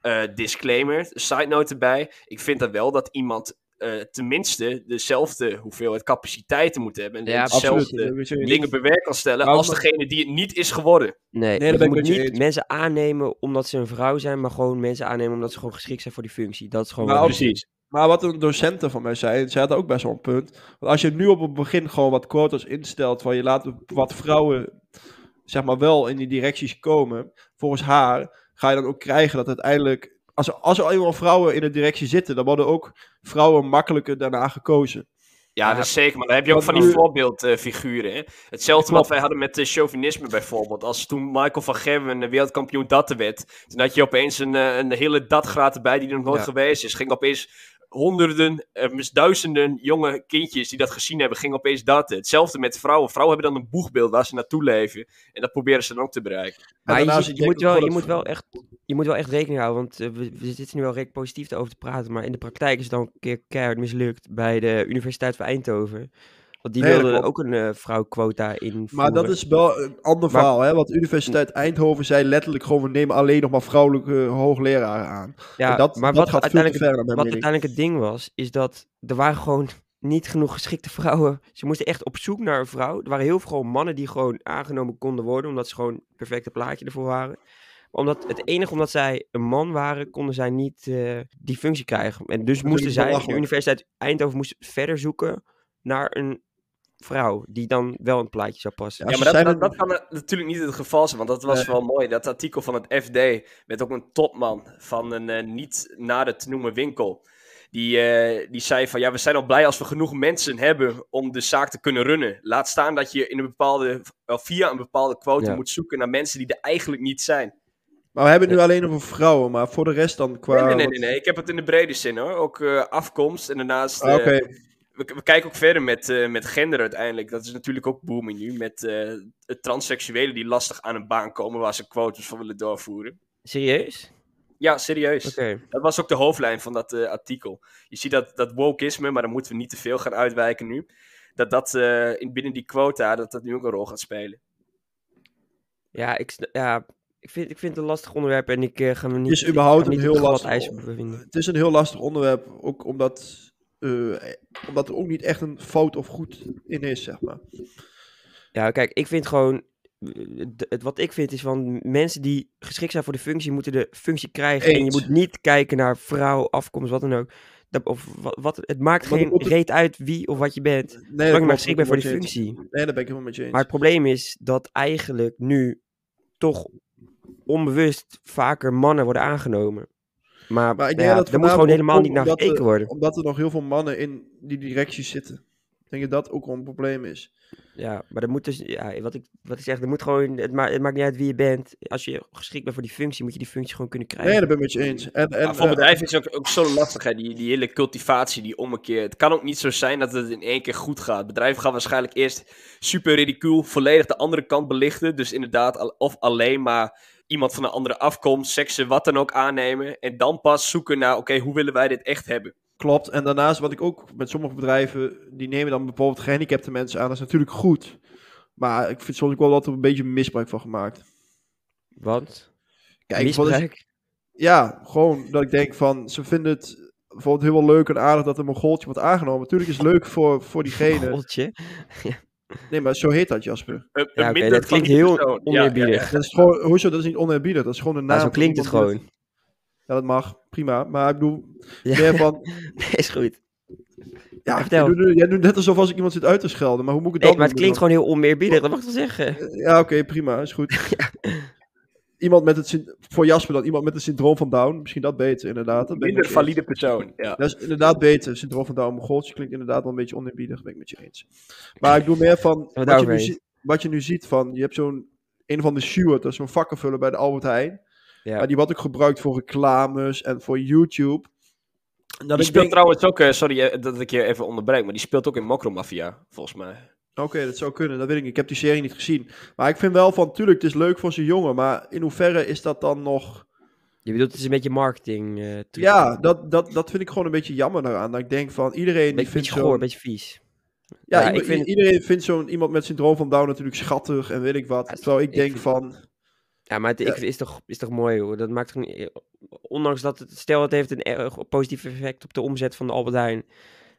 Speaker 3: eh, disclaimer, side note erbij, ik vind dat wel dat iemand eh, tenminste dezelfde hoeveelheid capaciteiten moet hebben. En
Speaker 2: Ja,
Speaker 1: Absoluut.
Speaker 3: dezelfde
Speaker 1: dat weet je niet.
Speaker 3: dingen bewerk kan stellen
Speaker 1: Nou,
Speaker 3: als
Speaker 1: maar-
Speaker 3: degene die het niet is geworden.
Speaker 2: Nee,
Speaker 1: Nee, dat
Speaker 2: je
Speaker 1: ben ik
Speaker 2: moet
Speaker 1: met je
Speaker 2: niet
Speaker 1: eens.
Speaker 2: mensen aannemen omdat ze een vrouw zijn, maar gewoon mensen aannemen omdat ze gewoon geschikt zijn voor die functie. Dat is gewoon...
Speaker 1: Maar
Speaker 2: wat-
Speaker 1: als- Maar wat een docenten van mij zei, zij hadden ook best wel een punt. Want als je nu op het begin gewoon wat quotas instelt, waar je laat wat vrouwen zeg maar wel in die directies komen, volgens haar ga je dan ook krijgen dat uiteindelijk, als er, als er eenmaal vrouwen in de directie zitten, dan worden ook vrouwen makkelijker daarna gekozen.
Speaker 3: Ja,
Speaker 2: Ja.
Speaker 3: dat is zeker. Maar dan heb je ook
Speaker 1: Wat
Speaker 3: van die
Speaker 1: doe je?
Speaker 3: voorbeeldfiguren. hè. Hetzelfde
Speaker 1: Klopt.
Speaker 3: wat wij hadden met eh, chauvinisme bijvoorbeeld. Als toen Michael van Gerwen eh, wereldkampioen datten werd. Toen had je opeens een, eh, een hele datgraad erbij die er nog nooit
Speaker 1: Ja.
Speaker 3: geweest is. Ging opeens honderden, eh, mis- duizenden jonge kindjes die dat gezien hebben, gingen opeens datten. Hetzelfde met vrouwen. Vrouwen hebben dan een boegbeeld waar ze naartoe leven. En dat proberen ze dan ook te bereiken.
Speaker 2: Maar je,
Speaker 1: daarna
Speaker 2: ziet-
Speaker 1: zie je
Speaker 2: je moet
Speaker 1: denk ik
Speaker 2: wel,
Speaker 1: ook
Speaker 2: je, moet
Speaker 1: wel
Speaker 2: wel echt, je moet wel echt rekening houden, want eh, we, we zitten nu wel redelijk positief over te praten, maar in de praktijk is het dan een keer keihard mislukt bij de Universiteit van Eindhoven. Want die
Speaker 1: Nee, dat
Speaker 2: wilden
Speaker 1: klopt.
Speaker 2: ook een eh, vrouwquota in.
Speaker 1: Maar dat is wel een ander
Speaker 2: Maar-
Speaker 1: verhaal, hè? Want de Universiteit Eindhoven zei letterlijk gewoon, we nemen alleen nog maar vrouwelijke hoogleraren aan.
Speaker 2: ja,
Speaker 1: en dat,
Speaker 2: maar
Speaker 1: dat
Speaker 2: wat
Speaker 1: gaat
Speaker 2: uiteindelijk,
Speaker 1: veel te ver naar mijn
Speaker 2: wat
Speaker 1: mening.
Speaker 2: uiteindelijk het ding was, is dat er waren gewoon niet genoeg geschikte vrouwen. Ze moesten echt op zoek naar een vrouw. Er waren heel veel gewoon mannen die gewoon aangenomen konden worden, omdat ze gewoon het perfecte plaatje ervoor waren. Maar omdat het enige omdat zij een man waren, konden zij niet eh, die functie krijgen. En dus
Speaker 1: is
Speaker 2: moesten zij, de
Speaker 1: belachelijk.
Speaker 2: Universiteit Eindhoven moest verder zoeken naar een vrouw die dan wel een plaatje zou passen.
Speaker 1: Ja,
Speaker 3: Ja,
Speaker 1: ze
Speaker 3: maar dat,
Speaker 1: zijn
Speaker 3: dat,
Speaker 1: er-
Speaker 3: dat kan na- natuurlijk niet het geval zijn, want dat was
Speaker 1: Nee.
Speaker 3: wel mooi. Dat artikel van het FD met ook een topman van een eh, niet nader te noemen winkel. Die, eh, die zei van, ja, we zijn al blij als we genoeg mensen hebben om de zaak te kunnen runnen. Laat staan dat je in een bepaalde, wel via een bepaalde quote
Speaker 2: Ja.
Speaker 3: moet zoeken naar mensen die er eigenlijk niet zijn.
Speaker 1: Maar we hebben het nu alleen over vrouwen, maar voor de rest dan qua...
Speaker 3: Nee, nee, nee,
Speaker 1: wat-
Speaker 3: nee, nee. Ik heb het in de brede zin hoor. Ook eh, afkomst en daarnaast...
Speaker 1: Ah,
Speaker 3: eh,
Speaker 1: Oké,
Speaker 3: we, we kijken ook verder met, eh, met gender uiteindelijk. Dat is natuurlijk ook booming nu. Met eh, het transseksuelen die lastig aan een baan komen waar ze quotas van willen doorvoeren.
Speaker 2: Serieus?
Speaker 3: Ja, serieus.
Speaker 2: Oké.
Speaker 3: Dat was ook de hoofdlijn van dat eh, artikel. Je ziet dat, dat wokeisme, maar daar moeten we niet te veel gaan uitwijken nu. Dat dat eh, in, binnen die quota, dat dat nu ook een rol gaat spelen.
Speaker 2: Ja, ik, sn- ja ik, vind, ik vind het een lastig onderwerp en ik eh, ga me niet...
Speaker 1: is überhaupt
Speaker 2: ik ga me
Speaker 1: een
Speaker 2: niet op
Speaker 1: heel
Speaker 2: glad
Speaker 1: lastig
Speaker 2: ijs
Speaker 1: on-
Speaker 2: bevinden.
Speaker 1: het is een heel lastig onderwerp, ook omdat, eh, eh, omdat er ook niet echt een fout of goed in is, zeg maar.
Speaker 2: Ja, kijk, ik vind gewoon. eh, Het, het- wat ik vind is van mensen die geschikt zijn voor de functie, moeten de functie krijgen. En je
Speaker 1: Eens.
Speaker 2: moet niet kijken naar vrouw, afkomst, wat dan ook. Dat, of wat, wat, het maakt
Speaker 1: Maar
Speaker 2: geen
Speaker 1: dat moet-
Speaker 2: reet uit wie of wat je bent. Zolang
Speaker 1: Nee,
Speaker 2: je
Speaker 1: dat
Speaker 2: maar
Speaker 1: klopt,
Speaker 2: geschikt bent voor die
Speaker 1: helemaal met je
Speaker 2: functie.
Speaker 1: eens. Nee, daar ben ik helemaal met je eens.
Speaker 2: Maar het probleem is dat eigenlijk nu toch onbewust vaker mannen worden aangenomen. Maar,
Speaker 1: Maar
Speaker 2: nou
Speaker 1: ik denk
Speaker 2: ja,
Speaker 1: dat
Speaker 2: daar moet gewoon
Speaker 1: voornamelijk
Speaker 2: helemaal niet
Speaker 1: komt
Speaker 2: naar
Speaker 1: omdat
Speaker 2: gekeken worden.
Speaker 1: Omdat er nog heel veel mannen in die directies zitten. Ik denk dat dat ook wel een probleem is.
Speaker 2: Ja, maar dat moet dus, ja, wat, ik, wat ik zeg, er moet gewoon, het, ma- het maakt niet uit wie je bent. Als je geschikt bent voor die functie, moet je die functie gewoon kunnen krijgen.
Speaker 1: Nee, daar ben ik met je eens. En, en,
Speaker 3: Maar voor
Speaker 1: eh,
Speaker 3: bedrijven is ook, ook zo lastig, hè, die, die hele cultivatie, die ommekeer. Het kan ook niet zo zijn dat het in één keer goed gaat. Bedrijven gaan waarschijnlijk eerst super ridicuul, volledig de andere kant belichten. Dus inderdaad, al- of alleen maar iemand van een andere afkomst, seksen, wat dan ook aannemen. En dan pas zoeken naar, oké, hoe willen wij dit echt hebben?
Speaker 1: Klopt. En daarnaast, wat ik ook met sommige bedrijven, die nemen dan bijvoorbeeld gehandicapte mensen aan. Dat is natuurlijk goed. Maar ik vind soms ook wel dat er een beetje misbruik van gemaakt.
Speaker 2: Want,
Speaker 1: Kijk, bijvoorbeeld als je-
Speaker 2: misbruik.
Speaker 1: ja, gewoon dat ik denk van, ze vinden het bijvoorbeeld heel leuk en aardig dat een Mongooltje wordt aangenomen. Natuurlijk is het leuk voor, voor [laughs] diegene.
Speaker 2: Godje.
Speaker 1: Nee, maar zo heet dat, Jasper.
Speaker 3: Een,
Speaker 2: Ja,
Speaker 3: een
Speaker 2: oké,
Speaker 3: minder
Speaker 2: dat klinkt
Speaker 3: van die
Speaker 2: heel
Speaker 3: persoon. Ja,
Speaker 2: oneerbiedig.
Speaker 3: ja, ja.
Speaker 1: Dat is gewoon, hoezo, dat is niet oneerbiedig. Dat is gewoon een naam.
Speaker 2: Maar zo
Speaker 1: van
Speaker 2: klinkt het
Speaker 1: iemand die-
Speaker 2: gewoon. [laughs]
Speaker 1: Ja, dat mag. Prima. Maar ik bedoel,
Speaker 2: Ja.
Speaker 1: meer van,
Speaker 2: [laughs] Nee, is goed.
Speaker 1: Ja,
Speaker 2: Vertel.
Speaker 1: jij doet nu- jij doet net alsof als ik iemand zit uit te schelden, maar hoe moet ik het
Speaker 2: Nee,
Speaker 1: dan
Speaker 2: maar het
Speaker 1: doen
Speaker 2: klinkt gewoon heel oneerbiedig, dat mag ik wel zeggen.
Speaker 1: dan? Ja, oké, prima, is
Speaker 2: [laughs]
Speaker 1: goed. Iemand met het, syn- voor Jasper dan, iemand met het syndroom van Down, misschien dat beter inderdaad. Dat ben ik
Speaker 3: Minder
Speaker 1: met je eens.
Speaker 3: valide persoon, ja.
Speaker 1: Dat is inderdaad beter, syndroom van Down. Mongooltje klinkt inderdaad wel een beetje oneerbiedig, ben ik met je eens. Maar ik doe meer van,
Speaker 2: we
Speaker 1: wat je, nu
Speaker 2: daarover
Speaker 1: zie- wat je nu ziet van, je hebt zo'n, een van de Stuart, dat is zo'n vakkenvuller bij de Albert Heijn.
Speaker 2: Ja.
Speaker 1: Maar die wordt ook gebruikt voor reclames en voor YouTube. En Dat
Speaker 3: Die
Speaker 1: ik
Speaker 3: speelt
Speaker 1: denk,
Speaker 3: trouwens ook, eh, sorry eh, dat ik je even onderbreek, maar die speelt ook in Mokromafia, volgens mij.
Speaker 1: Oké, dat zou kunnen, dat weet ik niet. Ik heb die serie niet gezien. Maar ik vind wel van, tuurlijk, het is leuk voor zijn jongen, maar in hoeverre is dat dan nog...
Speaker 2: Je bedoelt, het is een beetje marketing. eh, truc.
Speaker 1: Ja, dat, dat, dat vind ik gewoon een beetje jammer daaraan. Dat ik denk van, iedereen die
Speaker 2: Beetje,
Speaker 1: vindt
Speaker 2: beetje goor,
Speaker 1: zo'n...
Speaker 2: beetje vies.
Speaker 1: Ja,
Speaker 2: ja,
Speaker 1: ieder-
Speaker 2: ik vind-
Speaker 1: iedereen vindt zo'n iemand met syndroom van Down natuurlijk schattig en weet ik wat.
Speaker 2: Ja,
Speaker 1: terwijl ik,
Speaker 2: ik
Speaker 1: denk
Speaker 2: vind-
Speaker 1: van,
Speaker 2: Ja, maar het ik- is, toch, is toch mooi hoor. Dat maakt toch niet, eh, ondanks dat het, stel het heeft een erg positief effect op de omzet van de Albert Heijn.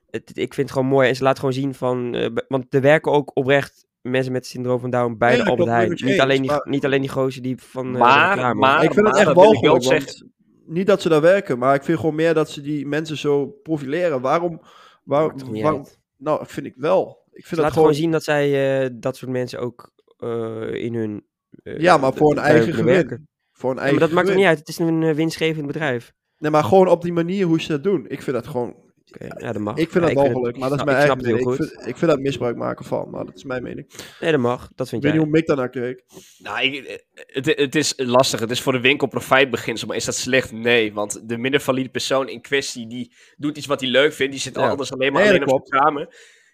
Speaker 2: Het, ik vind het gewoon mooi. En ze laat gewoon zien van, eh, b- want er werken ook oprecht mensen met syndroom van Down bij
Speaker 1: Nee,
Speaker 2: de
Speaker 1: dat
Speaker 2: Albert
Speaker 1: klopt,
Speaker 2: Heijn.
Speaker 1: ben ik
Speaker 2: Niet,
Speaker 1: met je eens,
Speaker 2: alleen die,
Speaker 1: maar-
Speaker 2: niet alleen die gozer die van... eh,
Speaker 3: Maar-
Speaker 2: reclame.
Speaker 3: maar-
Speaker 1: ik vind het echt
Speaker 3: dat wil ik
Speaker 1: walgelijk,
Speaker 3: ook
Speaker 1: want
Speaker 3: zeggen.
Speaker 1: Niet dat ze daar werken, maar ik vind gewoon meer dat ze die mensen zo profileren. Waarom... Waar,
Speaker 2: Maakt toch niet
Speaker 1: waarom
Speaker 2: uit.
Speaker 1: nou, vind ik wel. Ik
Speaker 2: Ze
Speaker 1: vind
Speaker 2: laat gewoon
Speaker 1: dat gewoon...
Speaker 2: zien dat zij eh, dat soort mensen ook eh, in hun... eh,
Speaker 1: Ja, maar voor een
Speaker 2: bij
Speaker 1: eigen
Speaker 2: hun werken.
Speaker 1: gewin. Voor een
Speaker 2: Ja, maar
Speaker 1: eigen
Speaker 2: dat maakt toch
Speaker 1: gewin.
Speaker 2: niet uit. Het is een eh, winstgevend bedrijf.
Speaker 1: Nee, maar gewoon op die manier hoe ze dat doen. Ik vind dat gewoon
Speaker 2: Oké, Ja, dat mag.
Speaker 1: Ik vind
Speaker 2: Ja,
Speaker 1: dat walgelijk, maar dat is
Speaker 2: ik
Speaker 1: mijn
Speaker 2: snap
Speaker 1: eigen
Speaker 2: het heel
Speaker 1: mening. Ik
Speaker 2: goed.
Speaker 1: vind, ik vind dat misbruik maken van, maar dat is mijn mening. Ik
Speaker 2: Nee, dat mag. Dat vind
Speaker 1: weet
Speaker 2: jij.
Speaker 1: niet hoe Mick daarnaar keek.
Speaker 3: Nou, ik- het, het is lastig. Het is voor de winkel profijtbeginsel. Maar is dat slecht? Nee. Want de minder valide persoon in kwestie, die doet iets wat hij leuk vindt. Die zit
Speaker 2: Ja.
Speaker 3: anders alleen maar
Speaker 1: Nee, dat
Speaker 3: alleen op zijn kamer.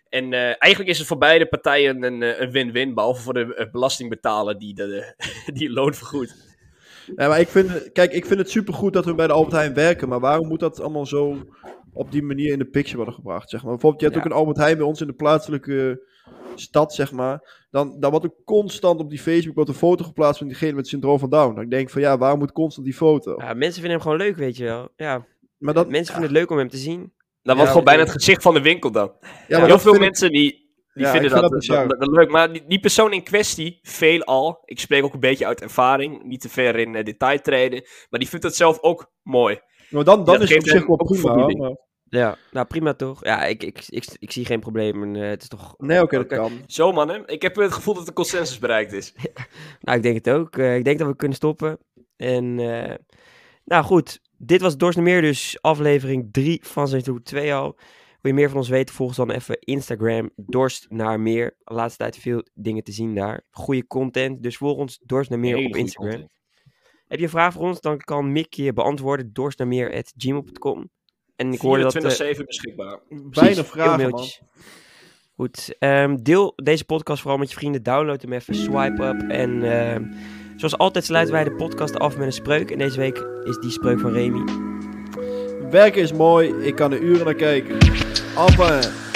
Speaker 3: En eh, eigenlijk is het voor beide partijen een, eh, een win-win. Behalve voor de eh, belastingbetaler die, de, [laughs] die loon vergoedt.
Speaker 1: Nee, maar ik vind, kijk, ik vind het supergoed dat we bij de Albert Heijn werken, maar waarom moet dat allemaal zo op die manier in de picture worden gebracht, zeg maar? Bijvoorbeeld, je hebt
Speaker 2: Ja.
Speaker 1: ook een Albert Heijn bij ons in de plaatselijke stad, zeg maar. Dan, dan wordt ook constant op die Facebook wordt een foto geplaatst van diegene met syndroom van Down. Dan denk ik van, ja, waarom moet constant die foto?
Speaker 2: Ja, mensen vinden hem gewoon leuk, weet je wel. Ja,
Speaker 1: Maar Oh. dat,
Speaker 2: mensen vinden het leuk om hem te zien.
Speaker 3: Dan
Speaker 1: Ja,
Speaker 3: wordt gewoon Nou, bijna
Speaker 1: ja.
Speaker 3: het gezicht van de winkel dan.
Speaker 1: ja, maar
Speaker 3: Heel
Speaker 1: dat
Speaker 3: veel
Speaker 1: vind ik-
Speaker 3: mensen die, die
Speaker 1: Ja,
Speaker 3: vinden
Speaker 1: ik vind
Speaker 3: dat,
Speaker 1: dat
Speaker 3: dat,
Speaker 1: bizar.
Speaker 3: dat- dat leuk. Maar die, die persoon in kwestie, veelal, ik spreek ook een beetje uit ervaring. Niet te ver in eh, detail treden. Maar die vindt dat zelf ook mooi.
Speaker 1: maar dan, dan
Speaker 3: dat
Speaker 1: is het op
Speaker 3: geeft
Speaker 1: zich
Speaker 3: hem
Speaker 1: wel
Speaker 3: ook
Speaker 1: prima.
Speaker 3: voldoening.
Speaker 1: hoor, maar-
Speaker 2: Ja, nou prima toch? Ja, ik, ik, ik, ik zie geen probleem. En, eh, het is toch...
Speaker 1: Nee, oké,
Speaker 2: Oké.
Speaker 1: dat kan.
Speaker 3: Zo mannen, ik heb het gevoel dat de consensus bereikt is.
Speaker 2: Nou, ik denk het ook. Eh, ik denk dat we kunnen stoppen. En, eh, nou goed. Dit was Dorst en Meer, dus aflevering 3 van seizoen 2 al. Wil je meer van ons weten, volg ons dan even Instagram, Dorst naar Meer. De laatste tijd veel dingen te zien daar. Goede content, dus volg ons Dorst naar Meer op Instagram. Heb je een vraag voor ons, dan kan Mick je beantwoorden. Dorst naar meer@gmail.com. En ik hoorde dat... eh,
Speaker 3: 24 beschikbaar.
Speaker 2: Precies,
Speaker 1: Weinig
Speaker 2: heel
Speaker 1: vragen, man.
Speaker 2: mailtjes. Goed, ehm, deel deze podcast vooral met je vrienden. Download hem even, swipe up. En ehm, zoals altijd sluiten wij de podcast af met een spreuk. En deze week is die spreuk van Remy.
Speaker 1: Werken is mooi, ik kan er uren naar kijken. Af eh. en...